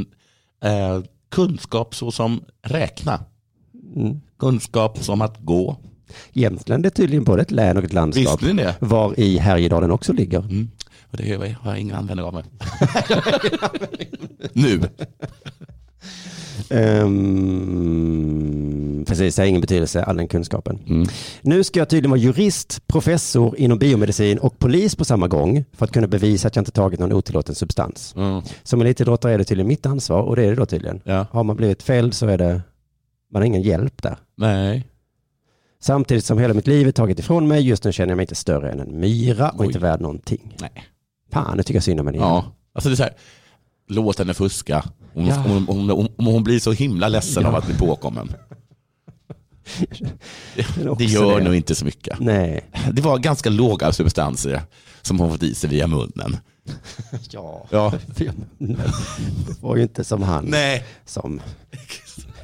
Speaker 2: eh, kunskap så som räkna.
Speaker 3: Mm.
Speaker 2: Kunskap som att gå.
Speaker 3: Jämtland är tydligen både ett län och ett landskap.
Speaker 2: Visste ni det?
Speaker 3: Var i Härjedalen också ligger.
Speaker 2: Mm. Och det har jag inga användning av mig. nu.
Speaker 3: Ehm, precis, det har ingen betydelse, all den kunskapen.
Speaker 2: Mm.
Speaker 3: Nu ska jag tydligen vara jurist, professor inom biomedicin och polis på samma gång för att kunna bevisa att jag inte tagit någon otillåten substans.
Speaker 2: Mm.
Speaker 3: Som elitidrottare är det tydligen mitt ansvar och det är det då tydligen.
Speaker 2: Ja.
Speaker 3: Har man blivit fälld så är det, man har ingen hjälp där.
Speaker 2: Nej.
Speaker 3: Samtidigt som hela mitt liv är taget ifrån mig, just nu känner jag mig inte större än en myra och
Speaker 2: Oj.
Speaker 3: inte värd någonting.
Speaker 2: Nej.
Speaker 3: Fan, nu tycker jag synd om henne. igen.
Speaker 2: Ja. Alltså det är så här. Låt henne fuska. Om,
Speaker 3: Ja.
Speaker 2: om, om, om, om hon blir så himla ledsen
Speaker 3: Ja.
Speaker 2: av att bli påkommen.
Speaker 3: Men också
Speaker 2: Det gör
Speaker 3: det.
Speaker 2: nog inte så mycket.
Speaker 3: Nej.
Speaker 2: Det var ganska låga substanser som hon fått i sig via munnen.
Speaker 3: Ja.
Speaker 2: Ja.
Speaker 3: Det var ju inte som han
Speaker 2: Nej,
Speaker 3: som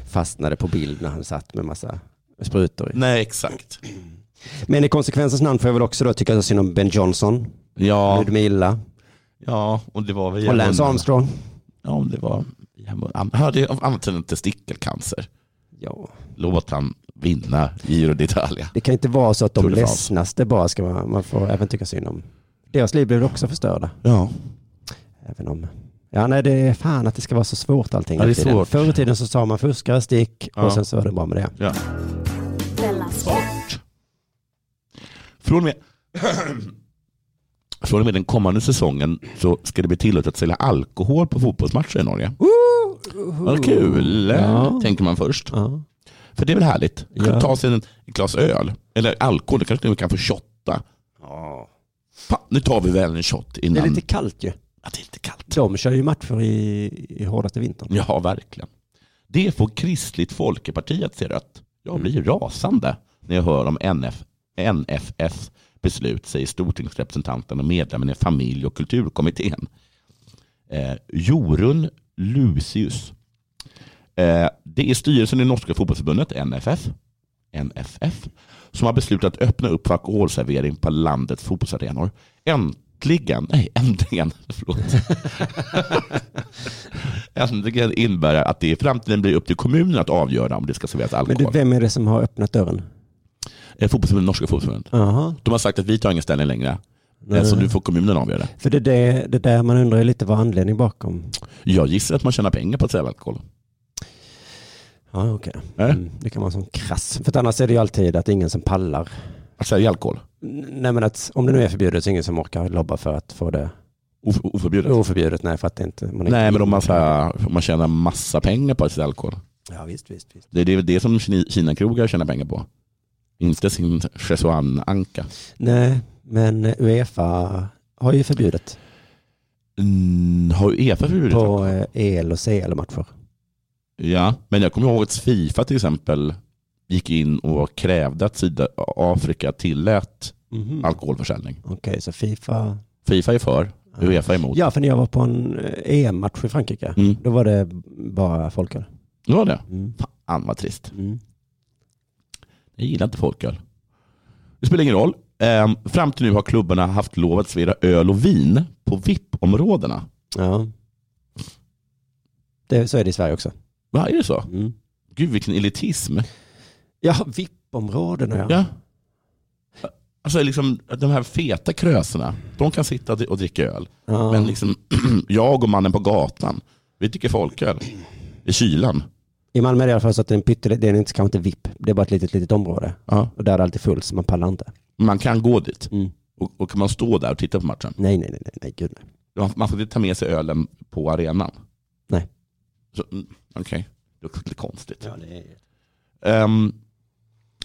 Speaker 3: fastnade på bild när han satt med massa sprutor. i.
Speaker 2: nej exakt.
Speaker 3: Men i konsekvensens namn får jag väl också då tycka synd om Ben Johnson,
Speaker 2: Ja,
Speaker 3: Ludmilla
Speaker 2: ja, och det var via
Speaker 3: och Lance
Speaker 2: munnen.
Speaker 3: Armstrong.
Speaker 2: Ja, om det var via munnen. Han hade antagligen typ testikelcancer.
Speaker 3: Ja.
Speaker 2: Låt han vinna Giro d'Italia.
Speaker 3: Det kan inte vara så att de
Speaker 2: Tour de France.
Speaker 3: ledsnaste bara ska man, man får även tycka synd om. Deras liv blev också förstörda.
Speaker 2: Ja.
Speaker 3: Även om... Ja, nej, det är fan att det ska vara så svårt allting.
Speaker 2: Ja, det är
Speaker 3: i tiden.
Speaker 2: svårt.
Speaker 3: Förr i tiden så sa man fuskare, stick
Speaker 2: Ja.
Speaker 3: och sen så var det bra med det.
Speaker 2: ja.
Speaker 4: Della Sport.
Speaker 2: Från och med Från och med den kommande säsongen så ska det bli tillåtet att sälja alkohol på fotbollsmatcher i Norge. Vad kul,
Speaker 3: Ja.
Speaker 2: tänker man först.
Speaker 3: Ja.
Speaker 2: Oh. För det är väl härligt?
Speaker 3: Ja.
Speaker 2: Ta sig en ett glas öl, eller alkohol, det kanske vi kan få shotta. Fan, nu tar vi väl en shot
Speaker 3: Det är
Speaker 2: innan.
Speaker 3: lite kallt ju.
Speaker 2: Ja, det är lite kallt.
Speaker 3: De kör ju matcher i, i hårdaste vintern.
Speaker 2: Ja, verkligen. Det får Kristligt Folkeparti att se rött. Jag blir rasande när jag hör om NF, NFFs beslut, säger stortingsrepresentanten och medlemmen i familje och kulturkommittén. Eh, Jorun Lucius. Eh, det är styrelsen i Norska fotbollsförbundet, NFF, NFF, som har beslutat att öppna upp för alkoholservering på landets fotbollsarenor. Äntligen, nej äntligen, förlåt ändringen innebär att det i framtiden blir upp till kommunen att avgöra om det ska serveras
Speaker 3: Men du,
Speaker 2: alkohol.
Speaker 3: vem är det som har öppnat dörren?
Speaker 2: Eh, Fotbollsförbundet, Norska fotbollsförbundet.
Speaker 3: Aha.
Speaker 2: De har sagt att vi tar ingen ställning längre. Eh, Så nu får kommunen avgöra.
Speaker 3: För det är det, det där man undrar ju lite vad anledningen bakom.
Speaker 2: Jag gissar att man tjänar pengar på att sälja alkohol.
Speaker 3: Ja, okej.
Speaker 2: Äh?
Speaker 3: Mm, det kan vara en sån krass. För att annars är det ju alltid att ingen som pallar.
Speaker 2: Att sälja alkohol.
Speaker 3: N- Nej, men att om det nu är förbjudet så är det ingen som orkar lobba för att få det
Speaker 2: Of- Oförbjudet.
Speaker 3: oförbjudet. Nej, för att det inte... Man inte
Speaker 2: Nej, men om man, så här, om man tjänar massa pengar på att sälja alkohol.
Speaker 3: Ja, visst, visst. visst.
Speaker 2: Det är det, det som Kini- Kina-krogar tjänar pengar på. Inte sin Chesuan-anka.
Speaker 3: Nej, men eh, Uefa har ju förbjudet
Speaker 2: Mm, har Uefa förbjudit
Speaker 3: på
Speaker 2: alkohol?
Speaker 3: eh, EL och CL-matcher.
Speaker 2: Ja, men jag kommer ihåg att Fifa till exempel gick in och krävde att Sydafrika tillät
Speaker 3: mm
Speaker 2: alkoholförsäljning.
Speaker 3: Okej, så Fifa...
Speaker 2: Fifa är för, Uefa är emot.
Speaker 3: Ja, för när jag var på en eh, EM-match i Frankrike,
Speaker 2: Mm.
Speaker 3: då var det bara folköl.
Speaker 2: Det var det.
Speaker 3: Mm.
Speaker 2: Fan vad trist.
Speaker 3: Mm.
Speaker 2: Jag gillar inte folköl. Det spelar ingen roll. Ehm, fram till nu har klubbarna haft lov att servera öl och vin på VIP-områdena.
Speaker 3: Ja. Det, så är det i Sverige också.
Speaker 2: Vad är det så?
Speaker 3: Mm.
Speaker 2: Gud vilken elitism.
Speaker 3: Ja, VIP-områdena ja.
Speaker 2: Ja. Alltså liksom, de här feta krösorna, de kan sitta och dricka öl.
Speaker 3: Ja.
Speaker 2: Men liksom, jag och mannen på gatan, vi dricker folköl i kylan.
Speaker 3: I Malmö är det i alla fall så att det är en pyttel, det är inte, kanske inte VIP, det är bara ett litet, litet område.
Speaker 2: Ja.
Speaker 3: Och där är det alltid fullt så man pallar inte.
Speaker 2: Man kan gå dit
Speaker 3: Mm.
Speaker 2: och, och kan man stå där och titta på matchen.
Speaker 3: Nej, nej, nej, nej, nej, gud nej.
Speaker 2: Man- Man får inte ta med sig ölen på arenan?
Speaker 3: Nej.
Speaker 2: Så, mm, Okej, det låter lite konstigt.
Speaker 3: det är...
Speaker 2: Ehm,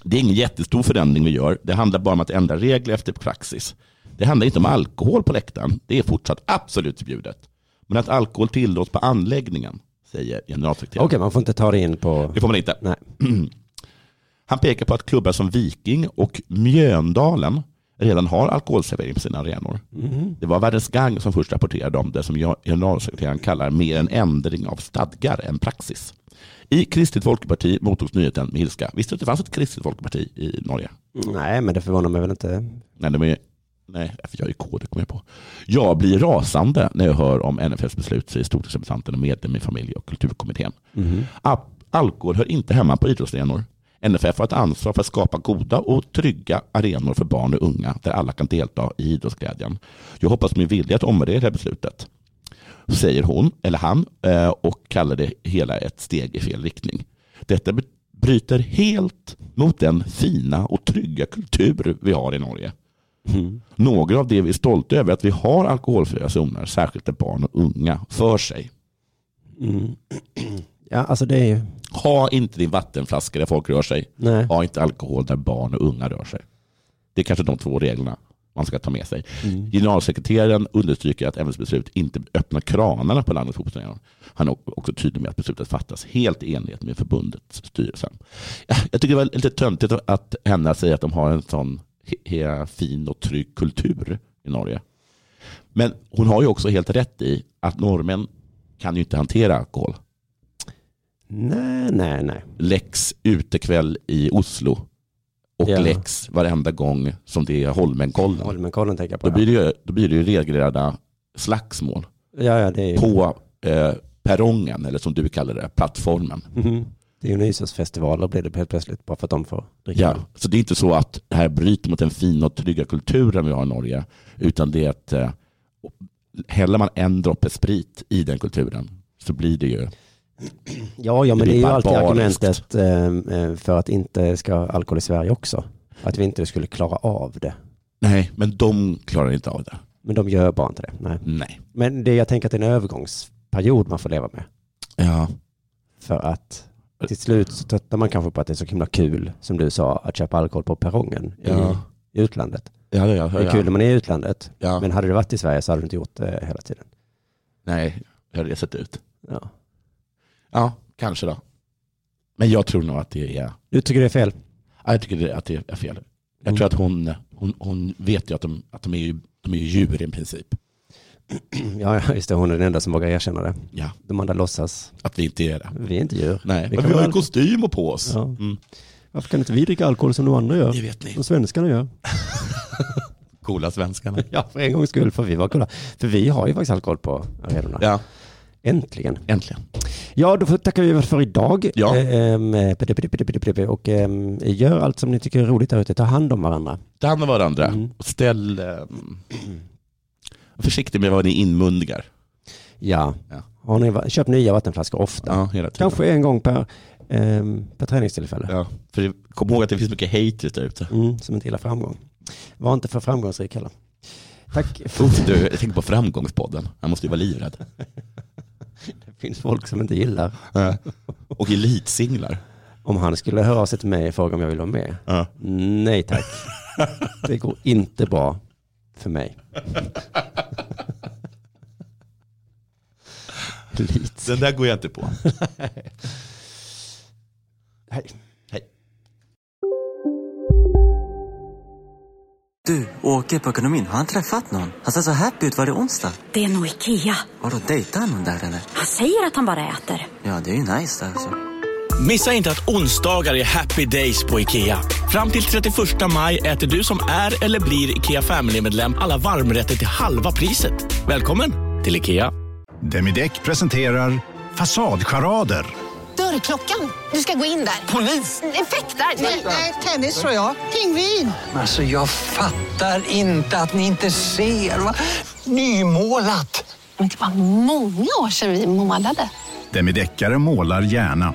Speaker 2: det är ingen jättestor förändring vi gör. Det handlar bara om att ändra regler efter praxis. Det handlar inte om alkohol på läktaren. Det är fortsatt absolut förbjudet. Men att alkohol tillåts på anläggningen, säger
Speaker 3: Okej,
Speaker 2: generalsekreteraren.
Speaker 3: man får inte ta det in på...
Speaker 2: Det får man inte.
Speaker 3: Nej.
Speaker 2: Han pekar på att klubbar som Viking och Mjöndalen redan har alkoholservering på sina arenor.
Speaker 3: Mhm.
Speaker 2: Det var Världens Gang som först rapporterade om det som jag- generalsekreteraren kallar mer en ändring av stadgar än praxis. I Kristet Folkeparti mottogs nyheten med ilska. Visste du att det fanns ett Kristet Folkeparti i Norge?
Speaker 3: Nej, men det förvånar mig väl inte.
Speaker 2: Nej, de är, nej för jag är KD kommer jag på. Jag blir rasande när jag hör om NFS beslut, säger stortingsrepresentanten och medlem i familje och kulturkommittén.
Speaker 3: Mhm.
Speaker 2: Ap- Alkohol hör inte hemma på idrottsarenor. NFF har ett ansvar för att skapa goda och trygga arenor för barn och unga där alla kan delta i idrottsglädjen. Jag hoppas min vilja att omvärdera det här beslutet, säger hon eller han eh, och kallar det hela ett steg i fel riktning. Detta be- bryter helt mot den fina och trygga kultur vi har i Norge.
Speaker 3: Mm.
Speaker 2: Några av det vi är stolta över är att vi har alkoholfria zoner, särskilt där barn och unga för sig.
Speaker 3: Mm. Ja, alltså det är ju...
Speaker 2: Ha inte din vattenflaska där folk rör sig.
Speaker 3: Nej.
Speaker 2: Ha inte alkohol där barn och unga rör sig. Det är kanske de två reglerna man ska ta med sig.
Speaker 3: Mm.
Speaker 2: Generalsekreteraren understryker att MSB beslut inte öppnar kranarna på landets fotbollsarenor. Han är också tydlig med att beslutet fattas helt i enlighet med förbundets styrelse. Jag tycker det var lite töntigt att henne säga att de har en sån he- he- fin och trygg kultur i Norge. Men hon har ju också helt rätt i att norrmän kan ju inte hantera alkohol.
Speaker 3: Nej, nej, nej.
Speaker 2: Lex utekväll i Oslo och
Speaker 3: Ja.
Speaker 2: Lex varenda gång som det är Holmenkollen.
Speaker 3: Holmenkollen tänker jag på.
Speaker 2: Då
Speaker 3: ja.
Speaker 2: blir det ju, då blir det ju regelrätta slagsmål
Speaker 3: Ja, ja, det är ju...
Speaker 2: på eh, perrongen, eller som du kallar det, plattformen.
Speaker 3: Mhm. Det är ju nyårsfestivaler blir det helt plötsligt bara för att de får dricka.
Speaker 2: Ja, så det är inte så att det här bryter mot den fina och trygga kulturen vi har i Norge, utan det är att eh, häller man en droppe sprit i den kulturen så blir det ju,
Speaker 3: Ja, ja, men
Speaker 2: Det blir
Speaker 3: det är ju alltid
Speaker 2: barbariskt.
Speaker 3: argumentet eh, eh, för att inte ska ha alkohol i Sverige också. Att vi inte skulle klara av det.
Speaker 2: nej, men de klarar inte av det.
Speaker 3: Men de gör bara inte det. Nej.
Speaker 2: Nej.
Speaker 3: Men det, jag tänker att det är en övergångsperiod man får leva med.
Speaker 2: Ja.
Speaker 3: För att till slut så tröttnar man kanske på att det är så himla kul, som du sa, att köpa alkohol på perrongen
Speaker 2: Ja.
Speaker 3: i, i utlandet.
Speaker 2: Mm. Ja, ja, ja,
Speaker 3: Det är kul när man är i utlandet,
Speaker 2: ja.
Speaker 3: men hade du varit i Sverige så hade du inte gjort det hela tiden.
Speaker 2: Nej, hur hade det sett ut?
Speaker 3: Ja.
Speaker 2: Ja, kanske då. Men jag tror nog att det är,
Speaker 3: Du tycker det är fel?
Speaker 2: ja, jag tycker det- att det är fel. Jag
Speaker 3: Mm.
Speaker 2: tror att hon, hon, hon vet ju att de, att de är ju de är ju djur i princip.
Speaker 3: Ja, ja, just det. Hon är den enda som vågar erkänna det.
Speaker 2: Ja.
Speaker 3: De andra låtsas.
Speaker 2: Att vi inte är det.
Speaker 3: Vi är inte djur.
Speaker 2: Nej,
Speaker 3: Vi
Speaker 2: men
Speaker 3: kan
Speaker 2: vi har ju
Speaker 3: väl-
Speaker 2: kostym och på oss.
Speaker 3: Ja.
Speaker 2: Mm.
Speaker 3: Varför kan inte vi dricka alkohol som de andra gör?
Speaker 2: Det vet ni.
Speaker 3: Som svenskarna gör.
Speaker 2: Coola svenskarna.
Speaker 3: Ja, för en gångs skull får vi vara coola. För vi har ju faktiskt alkohol på arenorna.
Speaker 2: Ja,
Speaker 3: Äntligen.
Speaker 2: äntligen.
Speaker 3: Ja, då får- tackar vi väl för idag.
Speaker 2: Ja.
Speaker 3: Eh, ehm, pidi, pidi, pidi, pidi, pidi. Och ehm, gör allt som ni tycker är roligt där ute. Ta hand om varandra.
Speaker 2: Ta hand om varandra
Speaker 3: Mm.
Speaker 2: och ställ... Eh, var försiktig med vad ni inmundigar.
Speaker 3: Ja.
Speaker 2: Ja.
Speaker 3: Har ni, va- köp nya vattenflaskor ofta.
Speaker 2: Ja, hela tiden.
Speaker 3: Kanske en gång per, ehm, per träningstillfälle.
Speaker 2: Ja, för det- kom ihåg att det finns mycket haters där ute.
Speaker 3: Mm, som inte gillar framgång. Var inte för framgångsrik heller. Tack.
Speaker 2: Uff, Du, jag tänker på Framgångspodden. Han måste ju vara livrädd.
Speaker 3: Det finns folk som inte gillar.
Speaker 2: Och elitsinglar.
Speaker 3: Om han skulle höra av sig till mig och fråga om jag vill vara med.
Speaker 2: Ja.
Speaker 3: Nej tack. Det går inte bra för mig. Lite.
Speaker 2: Den där går jag inte på.
Speaker 3: Hej.
Speaker 9: Du, åker på ekonomin. Har han träffat någon? Han ser så happy ut. Var det onsdag?
Speaker 10: Det är nog Ikea.
Speaker 9: Vadå, dejtar han någon där eller?
Speaker 10: Han säger att han bara äter.
Speaker 9: Ja, det är ju nice alltså.
Speaker 11: Missa inte att onsdagar är happy days på IKEA. Fram till 31 maj äter du som är eller blir IKEA Family-medlem alla varmrätter till halva priset. Välkommen till IKEA.
Speaker 8: Demideck presenterar Fasadcharader.
Speaker 12: Dörrklockan. Du ska gå in där. Polis? Effektar? Nej, tennis tror jag. Pingvin.
Speaker 13: Alltså jag fattar inte att ni inte ser. Va? Nymålat.
Speaker 12: Men det var många år sedan vi målade.
Speaker 8: Demideckare målar gärna,